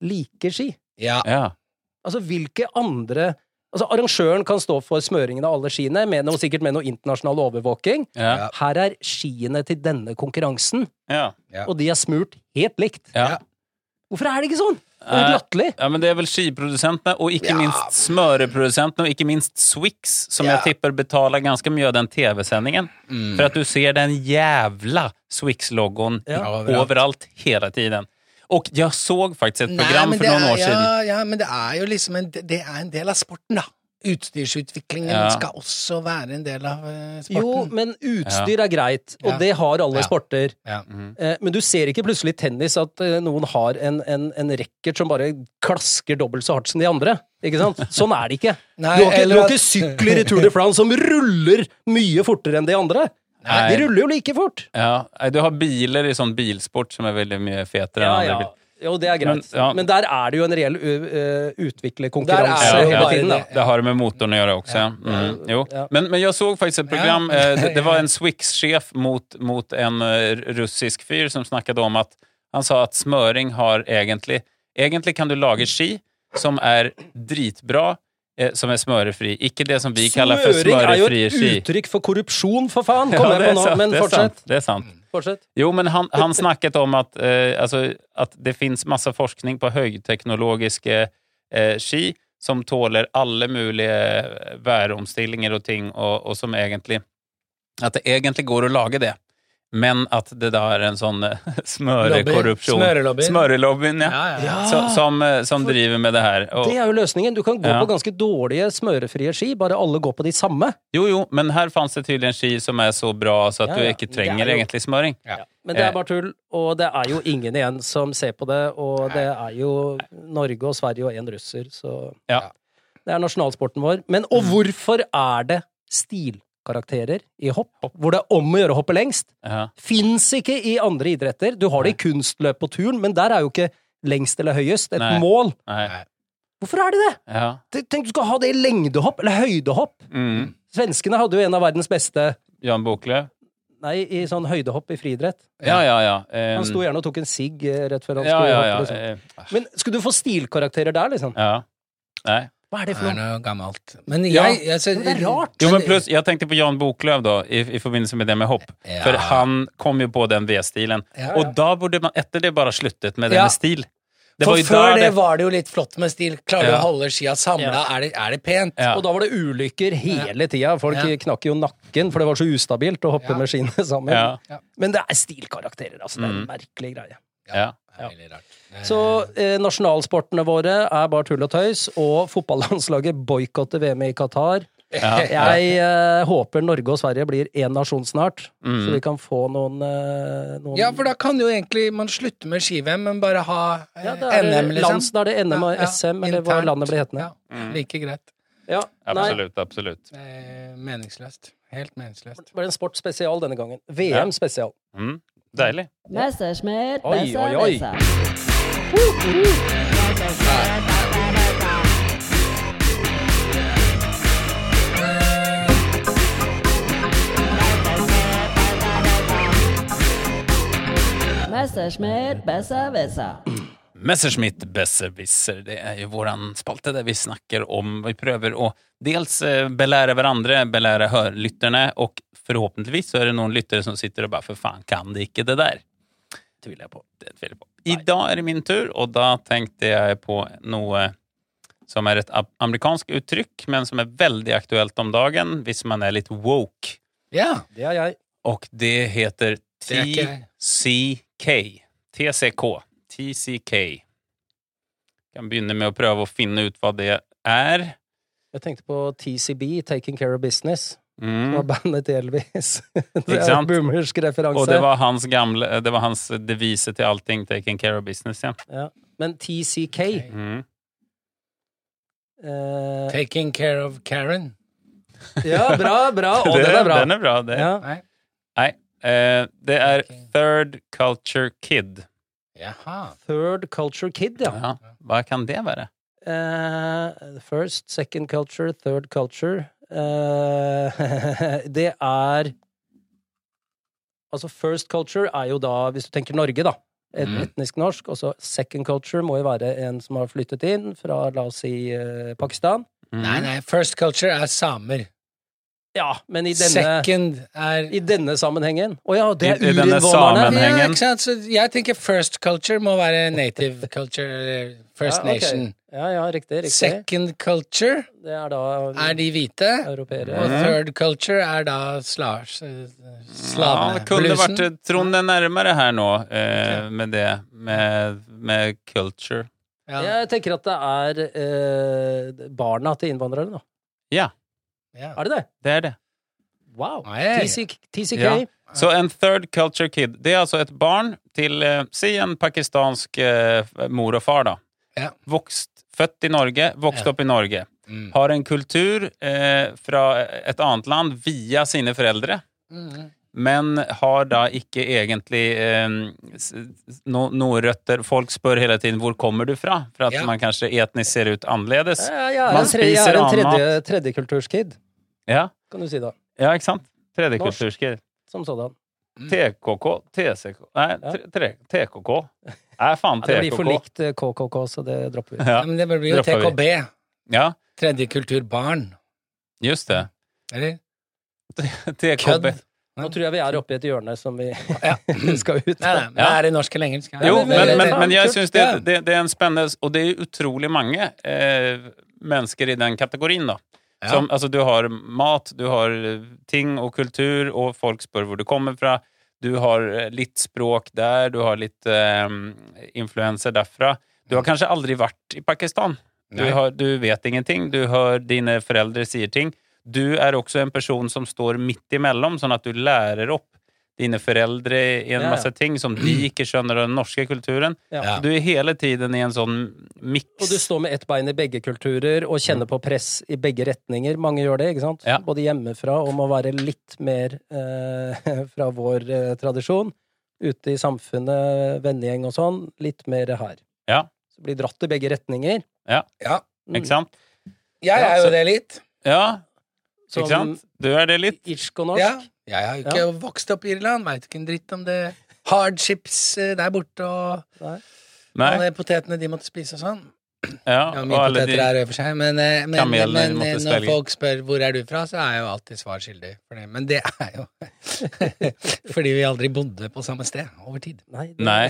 B: like ski?
C: Ja.
D: ja.
B: Altså, hvilke andre Altså, Arrangøren kan stå for smøringen av alle skiene, med noe, sikkert med noe internasjonal overvåking.
D: Ja.
C: Ja.
B: Her er skiene til denne konkurransen,
D: Ja.
C: Ja.
B: og de er smurt helt likt.
D: ja.
B: Hvorfor er det ikke sånn? Det er helt latterlig.
D: Ja, men det er vel skiprodusentene, og ikke
C: Ja.
D: minst smøreprodusentene, og ikke minst Swix, som
C: Ja.
D: jeg tipper betaler ganske mye av den TV-sendingen.
C: mm.
D: For at Mm. du ser den jævla Swix-logoen
B: Ja.
C: Overalt.
D: overalt hele tiden. Og jeg så faktisk et
C: Nei,
D: program
C: men
D: for
C: det
D: noen
C: er-
D: år siden.
C: Ja, ja, men det er jo liksom en, det er en del av sporten, da. Utstyrsutviklingen
D: Ja.
C: skal også være en del av eh, sporten.
B: Jo, men utstyr er greit, og
C: Ja.
B: det har alle
C: Ja.
B: sporter.
C: Ja.
B: Eh, Men du ser ikke plutselig i tennis at eh, noen har en, en, en racket som bare klasker dobbelt så hardt som de andre. Ikke
D: *laughs*
B: sant? Sånn er det ikke.
C: Nei,
B: du har ikke,
C: eller
B: du har
C: at-
B: ikke sykler i Tour de France som ruller mye fortere enn de andre.
D: Nei.
B: De ruller jo like fort.
D: Ja. Nei, Du har biler i sånn bilsport som er veldig mye fetere
B: Ja,
D: enn andre
B: ja.
D: biler.
B: Jo, det er greit.
D: Men, ja.
B: Men der er det jo en reell ø- ø, utviklerkonkurranse
C: Der er det jo
B: hele
C: bare
B: tiden. Da.
C: det.
D: Det har det med motorn å gjøre også. Mm, jo.
B: Ja.
D: Men, men jeg så faktisk et program.
C: Ja.
D: eh, Det, det var
B: *laughs*
D: en Swix-sjef mot, mot en eh, russisk fyr som snakket om at han sa at smøring har egentlig Egentlig kan du lage ski som er dritbra, eh, som er smørefri. Ikke det som vi kaller for
B: Smøring er jo
D: smørefrie
B: et
D: ski.
B: uttrykk for korrupsjon, for faen! Kom jeg
D: det er
B: på nå,
D: sant,
B: men
D: det er
B: fortsett.
D: sant, Det er sant.
B: fortsett.
D: Jo, men han, han snakket om at, eh, alltså, at det finnes masse forskning på høyteknologiske eh, ski som tåler alle mulige eh, væromstillinger og ting, og, og som egentlig At det egentlig går å lage det, men at det da er en sånn eh, *laughs* smørekorrupsjon.
C: Smørelobby.
D: Smørelobbyen, ja.
C: Ja, ja, ja.
D: Så, som, eh, som driver med det her. Og,
B: Det er jo løsningen. Du kan gå
D: Ja.
B: på ganske dårlige smørefrie ski, bare alle går på de samme.
D: jo, jo, men her fantes det tydelig en ski som er så bra så at
B: Ja,
D: du
B: ja.
D: ikke
B: Det er
D: trenger
B: jo-
D: egentlig smøring.
B: Men det
D: Eh.
B: er bare tull, og det er jo ingen igjen som ser på det, og det er jo Norge og Sverige og én russer, så
D: Ja. Mm.
B: Det er nasjonalsporten vår. Men og hvorfor er det stilkarakterer i hopp, hvor det er om å gjøre å hoppe lengst?
D: Ja.
B: Fins ikke i andre idretter. Du har det i kunstløp og turn, men der er jo ikke lengst eller høyest et
D: Nei.
B: mål.
D: Nei.
B: Hvorfor er det det?
D: Ja.
B: Tenk- Tenk du skal ha det i lengdehopp eller høydehopp.
D: Mm.
B: Svenskene hadde jo en av verdens beste
D: Jan Boklöv.
B: Nei, i sånn høydehopp i friidrett.
D: Ja, ja, ja. Ehm,
B: Han sto gjerne og tok en sigg eh, rett før han
D: ja,
B: skulle
D: ja,
B: hoppe.
D: ja.
B: Liksom.
D: eh,
B: Men skulle du få stilkarakterer der, liksom?
D: ja. Nei.
B: Hva er det
C: Det
B: for
C: er
B: noe?
C: noe gammelt. Men jeg,
D: Ja,
C: altså,
B: men det er rart.
D: Jo, men plus, jeg tenkte på Jan Boklöv da, i, i forbindelse med det med hopp.
C: Ja.
D: For han kom jo på den V-stilen.
C: Ja, ja.
D: Og da burde man etter det bare sluttet med det
C: Ja.
D: med stil. Det
C: For
D: var jo
C: før
D: da
C: det var det jo litt flott med stil. Klarer du
D: Ja.
C: å holde skia samla,
B: Ja.
C: er, det- er det pent?
D: Ja.
B: Og da var det ulykker hele tida. Folk
C: Ja.
B: knakk jo nakken, for det var så ustabilt å hoppe
C: Ja.
B: med skiene *laughs* sammen.
D: Ja. Mm.
B: Men det er stilkarakterer, altså. Det er en merkelig greie.
D: Ja.
C: Det er veldig rart. Det-
B: Så eh, nasjonalsportene våre er bare tull og tøys, og fotballandslaget boikotter VM i Qatar.
D: Ja.
B: Jeg eh, håper Norge og Sverige blir én nasjon snart,
D: Mm.
B: så vi kan få noen, eh, noen
C: ja, for da kan jo egentlig man slutte med ski-VM, men bare ha eh,
B: Ja, da er det
C: NM, liksom.
B: lands- da er det NM og
C: Ja, ja.
B: SM, eller hva
C: Internt.
B: landet blir hetende.
C: Ja,
D: Mm.
C: like greit.
B: Ja, nei,
D: Absolutt, absolutt.
C: Eh, meningsløst. Helt meningsløst.
B: det var en sport spesial denne gangen. VM spesial.
D: Mm. Deilig.
F: Messerschmidt,
B: Oi,
F: Messer,
B: oi, oi.
F: Messer. Messerschmidt, besser, besser.
D: Messerschmitt Besserwisser, det er jo våran spalte der vi snakker om Vi prøver å dels eh, belære hverandre, belære hørlytterne, og forhåpentligvis så er det noen lyttere som sitter og bare 'for faen, kan de ikke det der'? Tviler jeg på. Det tviler jeg på. I dag er det min tur, og da tenkte jeg på noe som är ett ab- amerikanskt uttryck, men som är väldigt aktuellt om dagen, hvis man är lite woke.
C: Ja.
B: Det er jeg.
D: Och det heter
C: Det är okej.
D: TCK. TCK. TCK. kan begynne med å prøve å finne ut hva det er.
B: Jeg tenkte på TCB, Taking Care of Business. Det var
D: Mm.
B: bandet til Elvis. *laughs* Det
D: Ikke
B: er en
D: sant?
B: boomersk referanse.
D: Og det var hans gamle, det var hans devise til allting, 'taking care of business'. Ja.
B: Ja. Men TCK
D: Mm.
B: eh,
C: Taking care of Karen.
B: Ja, bra,
D: *laughs*
B: bra! Å, den er bra.
D: Den er bra det.
B: Ja.
C: Nei.
D: Eh, det er
C: Ok.
D: Third Culture Kid.
C: Jaha.
B: Third Culture Kid, ja.
D: Ja. Hva kan det være?
B: Eh, first, second culture, third culture. Eh, *laughs* det er Altså, first culture er jo da, hvis du tenker Norge, da, et
C: Mm.
B: etnisk norsk. Og så second culture må jo være en som har flyttet inn fra, la oss si, eh, Pakistan.
D: Mm.
C: Nei, nei, first culture er samer.
B: Ja, men i denne,
C: Second er
B: i denne sammenhengen Å ja, det er
D: I- i denne
B: urinnvånerne!
D: samen-
C: ja,
D: Hengen.
C: ikke sant? Så jeg tenker first culture må være native culture, eller First
B: Ja, ok.
C: Nation.
B: Ja, ja, riktig. riktig.
C: Second culture
B: Det er da
C: er de hvite,
B: europeere.
C: og third culture er da slavs...
D: Ja, det kunne vært
C: Slaveblusen.
D: Trond er nærmere her nå eh, med det, med, med culture.
C: Ja,
B: Jeg tenker at det er eh, barna til innvandrerne, da.
D: Ja,
C: ja.
B: Er det det?
D: det er det.
B: Wow!
C: Nei.
B: TC, TCK.
D: Ah, Ja. Så en third culture kid, det er altså et barn til, eh, si en pakistansk eh, mor og far da.
C: Ja.
D: Vokst, født i Norge, vokst
C: Ja.
D: opp i Norge.
C: Mm.
D: Har en kultur eh, fra et annet land via sine foreldre.
C: Mm.
D: Men har da ikke egentlig eh, s- s- no, noen røtter. Folk spør hele tiden 'hvor kommer du fra?' for at
C: Ja.
D: man kanskje etnisk ser ut annerledes.
B: Ja, Jeg er
D: Man
B: en, tre, jeg
D: spiser
B: er en
D: annen
B: tredje, tredjekulturskid,
D: Ja,
B: kan du si da.
D: ja ikke sant?
B: Norsk.
D: Tredjekulturskid.
B: Som sådan.
D: TKK, TCK Nei,
B: Mm. Ja.
D: tre, tre, TKK. Nei, faen,
B: Ja, det blir for
D: TKK.
B: likt eh, KKK, så det dropper vi.
D: Ja,
C: Ja, men det blir jo
D: Dropper
C: TKB.
D: ja,
C: Tredje kultur barn.
D: just det. *laughs*
C: Eller? Kødd.
D: TKB.
B: *laughs* Nå tror jeg vi er oppe i et hjørne som vi
C: *laughs* Ja.
B: *laughs* skal ut
C: Nei,
B: av.
C: nei, men det er i norsk eller engelsk. ja.
D: Jo,
B: men-
D: men, men, men jeg
B: kult,
D: syns det,
C: ja.
D: det, det er en spennende Og det er utrolig mange eh, mennesker i den kategorien, da.
C: Ja.
D: Som, altså, du har mat, du har eh, ting og kultur, og folk spør hvor du kommer fra. Du har eh, litt språk der, du har litt eh, influenser derfra. Du har kanskje aldri vært i Pakistan. Du,
C: Nei.
D: har, du vet ingenting. Du hører dine foreldre sier ting. Du er også en person som står midt imellom, sånn at du lærer opp dine foreldre i en
B: Ja, ja.
D: masse ting som de ikke skjønner av den norske kulturen.
B: Ja.
D: Så du er hele tiden i en sånn
B: Og du
D: miks.
B: står med ett bein i begge kulturer og kjenner på press i begge retninger. Mange gjør det, ikke sant?
D: Ja.
B: Både hjemmefra og må være litt mer eh, *laughs* fra vår eh, tradisjon. Ute i samfunnet, vennegjeng og sånn. Litt mer her.
D: Ja.
B: Så blir dratt i begge retninger.
C: Ja.
B: Mm.
D: Ikke sant?
C: Jeg er
D: altså,
C: jo det litt.
D: Ja,
B: Som
D: ikke sant? Du er det litt.
B: irsk og norsk.
C: Ja. Jeg har jo ikke vokst opp i Irland, veit ikke en dritt om det. Hardships eh, der borte og
D: Nei.
C: alle potetene de måtte spise og sånn.
D: Ja,
C: Ja,
D: og
C: mye
D: alle
C: poteter
D: de
C: er over seg, men, eh, men,
D: Kamelene
C: men,
D: de måtte
C: eh, når
D: svelge.
C: folk spør 'hvor er du fra', så er jeg jo alltid svar skyldig for det. Men det er jo *laughs* fordi vi aldri bodde på samme sted over tid.
B: Nei. det-
D: Nei.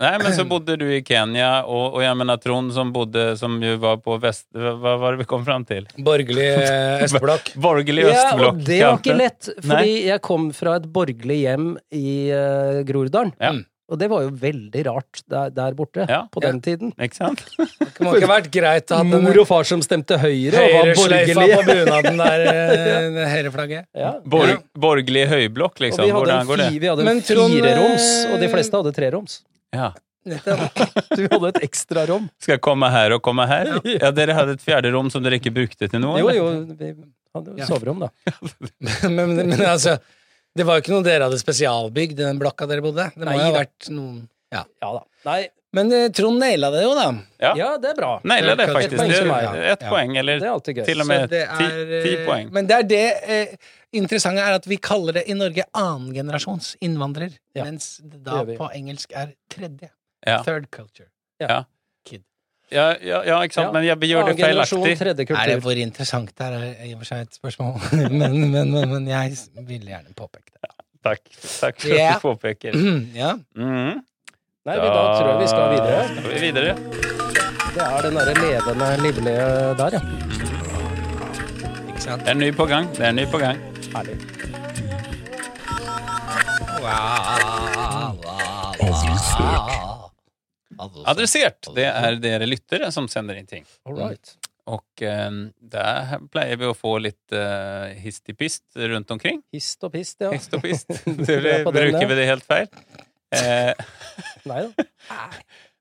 D: Nei, men så bodde du i Kenya, og, og jeg mener Trond som bodde Som jo var på vest... Hva var det vi kom fram til?
C: Borgerlig eh,
D: *laughs*
C: østblokk.
D: Borgerlig
B: Ja, og
D: østblokk.
B: det var ikke
D: kanskje.
B: lett, fordi
D: Nei.
B: jeg kom fra et borgerlig hjem i eh, Groruddalen.
D: Ja.
C: Mm.
B: Og det var jo veldig rart der, der borte
D: Ja.
B: på den tiden.
D: Ikke sant?
C: Det må ikke ha vært greit at
B: Mor og far som stemte høyre og var
C: høyresløyfa på
B: borgerlige.
C: bunaden
D: *laughs*
C: der, eh, det høyreflagget.
B: Ja.
D: Borg, Borgerlig høyblokk,
B: Og
D: liksom.
B: vi hadde en,
D: Hvordan går det?
B: fi, vi hadde
C: Men
B: en
C: Trond, eh,
B: fireroms, og de fleste hadde treroms.
D: Ja.
C: Nettopp.
B: Du hadde et ekstrarom.
D: Skal jeg komme her og komme
B: *laughs*
D: her? Ja, Dere hadde et fjerde rom som dere ikke brukte til noe?
B: Jo,
D: eller?
B: jo, vi hadde
C: Ja.
B: jo soverom, da.
C: men, men altså, det var jo ikke noe dere hadde spesialbygd i den blokka dere bodde. Det må
B: Nei
C: jo ha
B: da.
C: vært noen ja.
B: Ja da. Nei,
C: Men eh, Trond naila det jo, da.
D: Ja.
B: ja, det er bra.
D: Naila det,
C: Et
D: faktisk.
B: poeng
D: Det
B: til
D: er
B: meg,
C: ja.
D: ett
C: Ja.
D: poeng,
B: Det
D: eller
B: er alltid gøy.
D: til og
C: Så
D: med
C: det
D: ti,
C: er,
D: ti
C: eh,
D: poeng.
C: Men det er det eh, interessante er at vi kaller det i Norge annengenerasjons innvandrer,
B: Ja,
C: mens det da
B: det gjør vi.
C: på engelsk er tredje.
D: Ja.
C: Third culture.
D: Ja, ja, ja ikke sant?
B: Ja.
D: Men jeg gjør det
B: Annen generasjon,
D: feilaktig.
B: tredje
C: Er det
B: kultur.
C: hvor interessant det er, er i og for seg et spørsmål, *laughs* men, men, men, men jeg ville gjerne påpeke det. *clears throat*
D: Takk. Takk for
C: Ja.
D: *laughs* at du påpeker.
C: Ja.
D: Mm.
B: Nei, men da tror jeg vi skal videre.
D: Skal vi videre?
B: Det er den derre levende, livlige der, ja.
C: Ikke sant?
D: Det er en ny på gang. Det er en ny på gang.
B: Herlig.
D: Adressert! Det er dere lyttere som sender inn ting.
B: All right.
D: Og eh, der pleier vi å få litt eh, histipist rundt omkring.
B: Hist og pist,
D: *laughs*
B: ja.
D: Hist og
B: *laughs*
D: pist.
B: Du
D: Det
B: er på den, ja.
D: bruker vi det helt feil. Eh,
B: Nei da.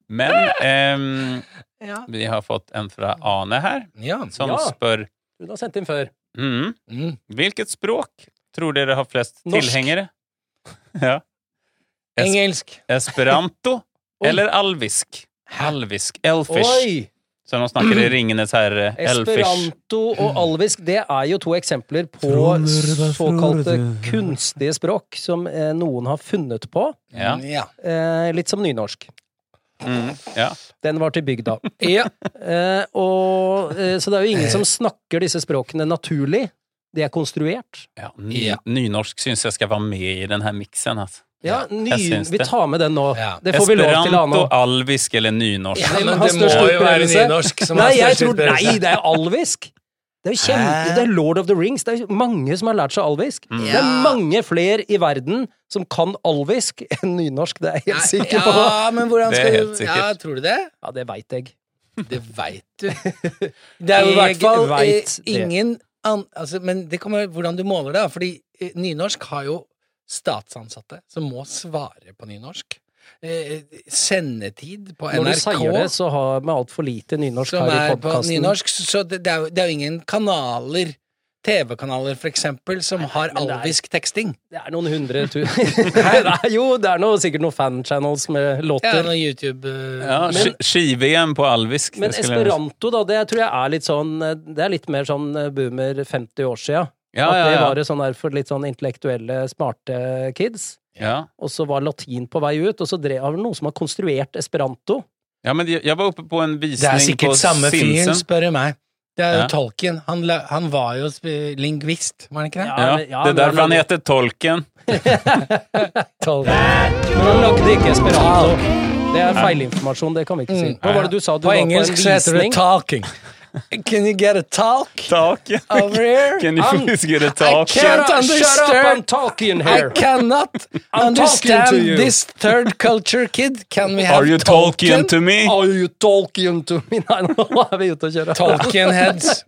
D: men ehm,
C: Ja.
D: vi har fått en fra Ane her,
C: Ja.
D: som
B: Ja.
D: spør
B: Hun har sendt inn før.
D: mm,
C: Mm.
D: Hvilket språk tror dere har flest
B: Norsk.
D: tilhengere? Ja. Es-
C: Engelsk.
D: Esperanto
B: Oi.
D: eller alvisk? Alvisk. Elfish.
B: Oi!
D: Som de snakker i Ringenes herre. Elfish.
B: Esperanto og alvisk, det er jo to eksempler på
E: Tror du det, tror du
B: såkalte
E: det?
B: kunstige språk som eh, noen har funnet på.
D: Ja.
C: Ja.
B: Eh, litt som nynorsk.
D: Mm, ja.
B: Den var til bygda. Eh, og, eh, så det er jo ingen som snakker disse språkene naturlig. De er konstruert.
D: Ja, ny,
C: Ja.
D: Nynorsk syns jeg skal være med i denne miksen. Altså.
B: Ja, ny,
D: jeg syns
B: vi
D: det.
B: tar med den nå.
C: Ja.
B: Det får vi lov til, Ane.
D: Esperanto, alvisk eller nynorsk.
C: Ja,
B: Hvem
C: men
B: har
C: det må
B: størst
C: jo være
B: utbredelse?
C: nynorsk som
B: Nei,
C: har
B: jeg
C: størst
B: tror, nei,
C: utbredelse.
B: det er alvisk! Det er jo kjempe,
C: Hæ?
B: det er Lord of the Rings. Det er jo mange som har lært seg alvisk. Det er
C: Ja.
B: mange flere i verden som kan alvisk enn nynorsk, det er jeg helt sikker på.
C: Ja, men hvordan
D: Det er
C: skal
D: helt
C: du
D: sikkert.
C: Ja, tror du det?
B: Ja, det veit jeg.
C: Det veit
B: *laughs*
C: du. Det er jo
B: Jeg
C: i hvert fall eh,
B: vet det.
C: ingen an, altså, Men det kommer an på hvordan du måler det. da, Fordi eh, nynorsk har jo statsansatte som må svare på nynorsk. Eh, Sendetid på
B: Når du
C: NRK
B: sier det, så har vi altfor lite nynorsk
C: som
B: her i
C: er på
B: podkasten.
C: nynorsk, så- så det, det, er jo, det er jo ingen kanaler TV-kanaler, for eksempel, som har
B: men det er-
C: alvisk teksting.
B: Det er noen hundre *laughs* tusen Det er Jo, det er noe, sikkert noen fanchannels med
C: Det er
B: låter.
C: noe YouTube eh,
D: Ja,
B: Men-
D: ski- Ski-VM på alvisk. det
B: Men
D: skulle jeg-
B: esperanto, da, det tror jeg er litt sånn eh, Det er litt mer sånn eh, boomer 50 år sia.
D: ja,
B: At
D: ja,
B: det
D: ja.
B: var det sånn der for litt sånn intellektuelle, smarte kids.
D: Ja.
B: Og så var latin på vei ut, og så drev av noen som har konstruert esperanto.
D: ja, men jeg jeg var oppe på en
C: Det er
D: visning på
C: sikkert samme fyren,
D: Sinsen.
C: spør du meg. Det er jo
D: Ja.
C: Tolkien. Han, la- han var jo sp- lingvist, var han ikke det?
D: Ja,
B: men-
D: det er
B: men
D: derfor han heter Tolken.
C: Tolkien.
B: Men han lagde ikke esperanto. Det er feilinformasjon, det kan vi ikke si. Hva var det du sa? Du
C: På
B: var
C: engelsk
B: Mm. på
C: så
B: en
C: heter det
B: visning.
C: talking. Can you get a talk
D: Taken. *laughs*
C: over here?
D: Can you
B: Han-
D: please get a
C: can't
D: talk?
B: Shut up, Shut up,
C: understand.
B: I'm talking
C: I
B: here!
C: cannot
B: I'm talking to you.
C: understand this third culture kid. Can we have
D: Are you
C: Tolkien?
D: talking to me?
B: Are you talking to me? *laughs* Nei, nå er vi ute å kjøre.
C: Tolkien heads.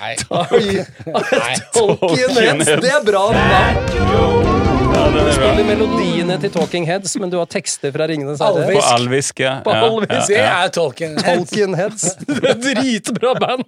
C: Nei.
B: Are you-
C: *laughs*
B: Talking Heads,
D: Heads.
B: det er bra navn.
D: Ja, den er bra.
B: Spiller melodiene til Talking Heads, men du har tekster fra Ringenes herre.
D: På alvisk, ja.
B: På
D: Ja,
B: alvisk,
D: ja,
C: Det
D: ja.
C: er Tolkien heads.
B: Talking Heads. *laughs* Det er Dritbra band.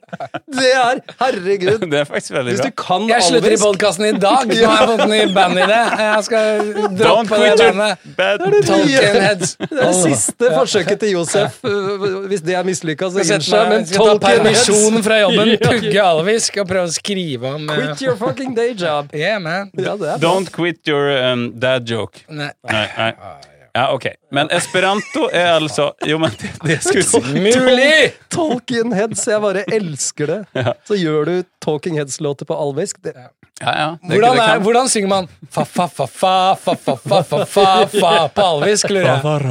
B: Det er Herregud.
D: *laughs* Det er faktisk veldig
B: Hvis
D: bra.
B: du kan
C: Jeg slutter i
B: alvisk
C: podkasten i dag. Nå har jeg fått ny bandidé. Jeg skal
D: Don't
C: droppe det
D: quit your
C: bandet.
D: bad
C: Tolkien heads.
B: Det er siste forsøket til Josef. øh, Hvis det er mislykka, så
C: Jeg
B: unnskyld
C: skal
B: meg, men
C: ta
B: Talking Heads
C: permisjon fra jobben,
B: *laughs* Ja.
C: pugge alvisk og prøve å skrive om eh,
B: Quit your fucking day job.
C: Yeah, man.
B: *laughs* Ja, det er bra.
D: Don't quit your um, dad joke.
C: Nei.
D: Nei, nei.
B: ah,
D: Ja, ok. Men esperanto er altså Jo, men det, det skulle jeg si.
C: Mulig!
B: Talking Heads, jeg bare elsker det. Så gjør du Talking Heads-låter på alvisk. Det,
D: Ja, ja. Det,
C: Hvordan,
D: det
C: er,
D: kan-
C: hvordan synger man fa-fa-fa-fa-fa-fa-fa-fa på alvisk, lurer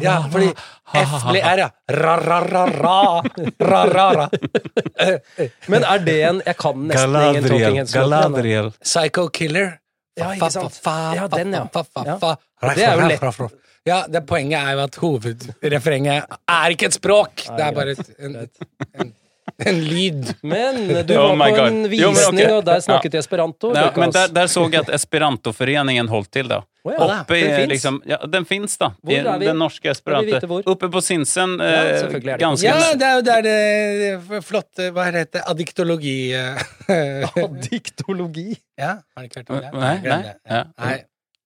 C: jeg? Ja, fordi F blir R, ja. Ra-ra-ra-ra. Ra-ra-ra.
B: Men er det en Jeg kan nesten ingen Talking
E: Galadriel,
B: Heads-låter.
E: Galadriel.
C: Psycho Killer.
B: Ja, ikke sant. Ja, den, ja.
C: ja.
B: Det er jo lett.
C: Ja, det poenget er jo at hovedrefrenget er ikke et språk. Det er bare et, en, en, en lyd.
B: Men du
D: Oh
B: var
D: my
B: på
D: God.
B: en
D: Jo, men ok.
B: visning, og der snakket
D: Ja.
B: jeg esperanto.
D: Ja,
B: Lukas.
D: men der, der så jeg at esperantoforeningen holdt til, da.
B: Å ja,
D: Oppe
B: den
D: i,
B: finnes.
D: liksom, ja, den fins, da.
B: Hvor
D: I
B: er vi?
D: Den norske
B: Vil vi vite
D: esperanto.
B: hvor?
D: Oppe på Sinsen. Eh,
B: Ja, selvfølgelig er det
D: ganske
C: *laughs* Ja, det er jo der det, det flotte Hva heter det? Adiktologi eh, *laughs*
B: Diktologi.
C: Ja, har det ikke hørt om det?
D: Nei, nei.
C: Glem det.
D: Ja.
C: Nei.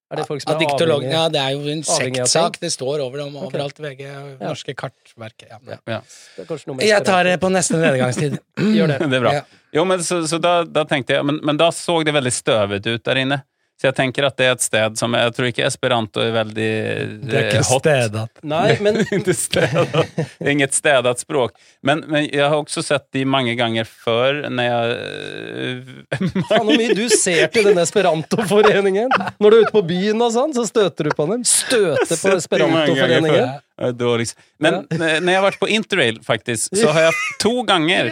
B: Er det folk som er
C: Adiktolog
B: avhengige?
C: Ja, det er jo en
B: avhengig av
C: sektsak.
B: ting?
C: Det står over dem overalt. VG, norske kartverket. Ja.
D: Ja.
B: Det er kanskje noe med
C: Jeg tar
B: esperanto.
C: det på neste nedgangstid.
B: Gjør det.
D: Det er bra.
C: Ja.
D: Jo, men så, så da, da tenkte jeg men, men da så det veldig støvet ut der inne. Så jeg tenker at det er et sted som Jeg tror ikke esperanto er veldig eh, hot. *laughs*
C: stedet.
B: Nei, men
D: Inte städat. Det är inget städat språk. Men, men jag har också sett det många gånger förr när jag... eh,
B: faen hvor mye du ser til den esperantoforeningen! Når du er ute på byen og sånn, så støter du på dem. Støter på
D: Sett i mange ganger
B: esperantoforeningen.
D: før. Eh, Då liksom. Men eh, när jag varit på interrail faktiskt så
B: *laughs*
D: har jag to ganger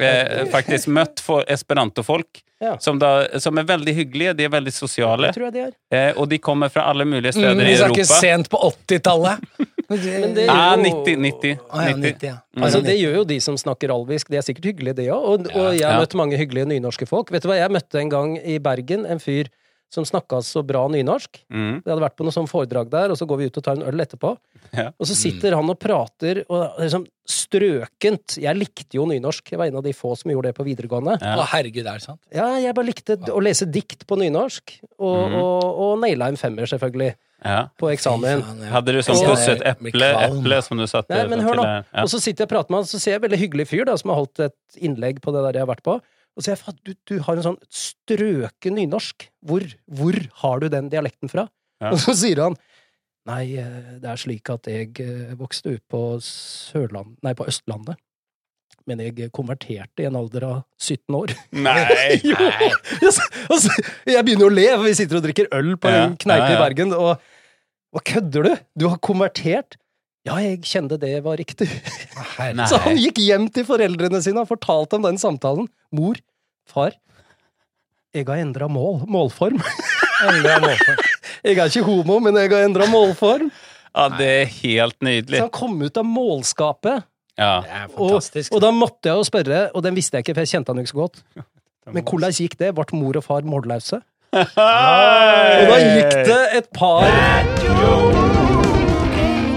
D: eh, faktiskt møtt for- esperantofolk
B: Ja.
D: som, da, som er veldig hyggelige, de er veldig sosiale,
B: tror jeg de er.
D: eh, og de kommer fra alle mulige steder
C: Mm,
D: i
C: vi snakker
D: Europa.
C: sent på
B: *laughs*
C: 80-tallet. Men
B: det-
D: Ah, 90, 90,
C: Å, ja,
D: 90.
C: 90, ja.
B: Altså, det gjør jo de som snakker alvisk. De er sikkert hyggelige, det òg. Og, og jeg har
D: Ja.
B: møtt mange hyggelige nynorske folk. Vet du hva, jeg møtte en gang i Bergen en fyr som snakka så bra nynorsk.
D: Mm.
B: Det hadde vært på noe sånn foredrag der, og så går vi ut og tar en øl etterpå.
D: Ja. Mm.
B: Og så sitter han og prater, og liksom strøkent Jeg likte jo nynorsk. Jeg var en av de få som gjorde det på videregående.
D: Ja.
C: Å, herregud, er det sant?
B: Ja, jeg bare likte d- å lese dikt på nynorsk, og,
D: Mhm.
B: og, og naila en femmer, selvfølgelig,
D: Ja.
B: på eksamen.
C: Fy faen, ja.
D: Hadde du sånn
C: Jeg
D: pusset
C: blir
D: eple,
C: kvalm.
D: eple som du satte sånn
B: Nei, men
D: til-
B: hør nå.
D: Ja.
B: Og så sitter jeg og prater med han, så ser jeg en veldig hyggelig fyr da, som har holdt et innlegg på det der jeg har vært på. Og så sier jeg, "Faen, du, du har en sånn strøken nynorsk. Hvor, hvor har du den dialekten fra?
D: Ja.
B: Og så sier han, nei, eh, det er slik at jeg eh, vokste opp på Sørland, nei, på Østlandet. Men jeg konverterte i en alder av 17 år.
D: Nei!
B: *laughs* Jo! Jeg s- og så- Jeg begynner jo å le, for vi sitter og drikker øl på en
D: Ja,
B: kneipe i
D: ja, ja.
B: Bergen, og Hva kødder du? Du har konvertert? Ja, jeg kjente det var riktig.
C: Å, herregud. Sånn.
D: Nei.
B: Så han gikk hjem til foreldrene sine og fortalte om den samtalen. Mor, far, jeg har endra mål. Målform.
C: Endra målform.
B: *laughs* Jeg er ikke homo, men jeg har endra målform.
D: Ja, det er helt
B: Så
D: nydelig.
B: han kom ut av målskapet.
D: Ja.
C: Det er
B: Og,
C: fantastisk.
B: og da måtte jeg jo spørre, og den visste jeg ikke, for jeg kjente han jo ikke
D: *laughs*
B: så godt. Men hvordan gikk det? Ble mor og far målløse? Og da gikk det et par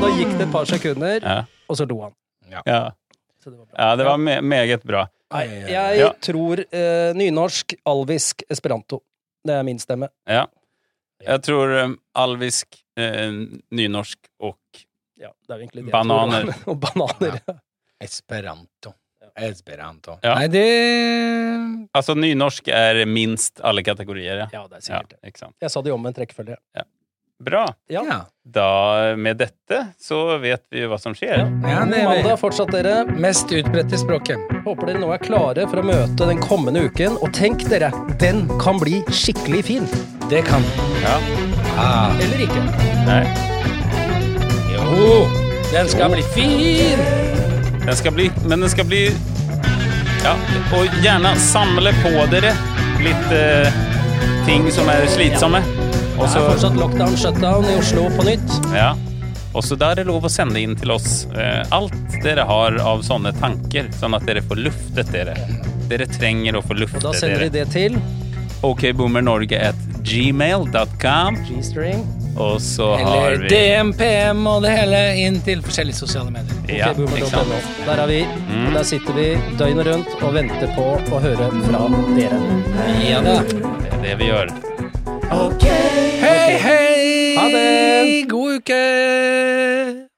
B: Da gikk det et par sekunder,
D: Ja.
B: og så lo han.
D: Ja.
B: Så det var bra.
D: ja, det var me meget bra.
B: Nei, jeg
D: Ja.
B: tror eh, nynorsk, alvisk, esperanto. Det er min stemme.
D: Ja. Jeg tror um, alvisk, eh, nynorsk og
B: Ja, det er jo egentlig det jeg
D: Bananer.
B: tror, da. *laughs* Og bananer. ja.
C: Esperanto. Esperanto.
D: Ja.
C: Nei, det
D: Altså, nynorsk er minst alle kategorier, ja.
B: Ja, det er
D: ja
B: sikkert det.
D: ikke sant.
B: Jeg sa det i omvendt rekkefølge.
D: Bra.
B: Ja.
C: Ja.
D: Da, med dette, så vet vi jo hva som skjer.
C: ja
B: God
C: det
B: mandag
C: er
B: fortsatt, dere.
C: mest utbredte språket.
B: Håper dere nå er klare for å møte den kommende uken. Og tenk dere, den kan bli skikkelig fin.
C: Det kan
D: Ja.
C: ah.
B: Eller ikke.
D: Nei.
C: Jo! Den skal bli fin!
D: Den skal bli Men den skal bli Ja, og gjerne samle på dere litt eh, ting som er slitsomme. Og
B: Det er
D: så
B: fortsatt lockdown, shutdown i Oslo på nytt.
D: Ja. Og så da er det lov å sende inn til oss eh, alt dere har av sånne tanker, sånn at dere får luftet dere. Dere trenger å få luftet
B: Da sender
D: dere.
B: vi det til
D: Okboomernorge at gmail.com.
B: G-string.
D: Og så har
C: Eller
D: vi
C: DMPM og det hele inn til forskjellige sosiale medier.
D: Ja,
B: Ok, boomer.no.
D: ikke sant. Mm.
B: Der er vi. Der sitter vi døgnet rundt og venter på å høre fra dere.
C: Ja da.
D: Det er det vi gjør.
C: Hei, hei!
B: Ha det!
C: God uke!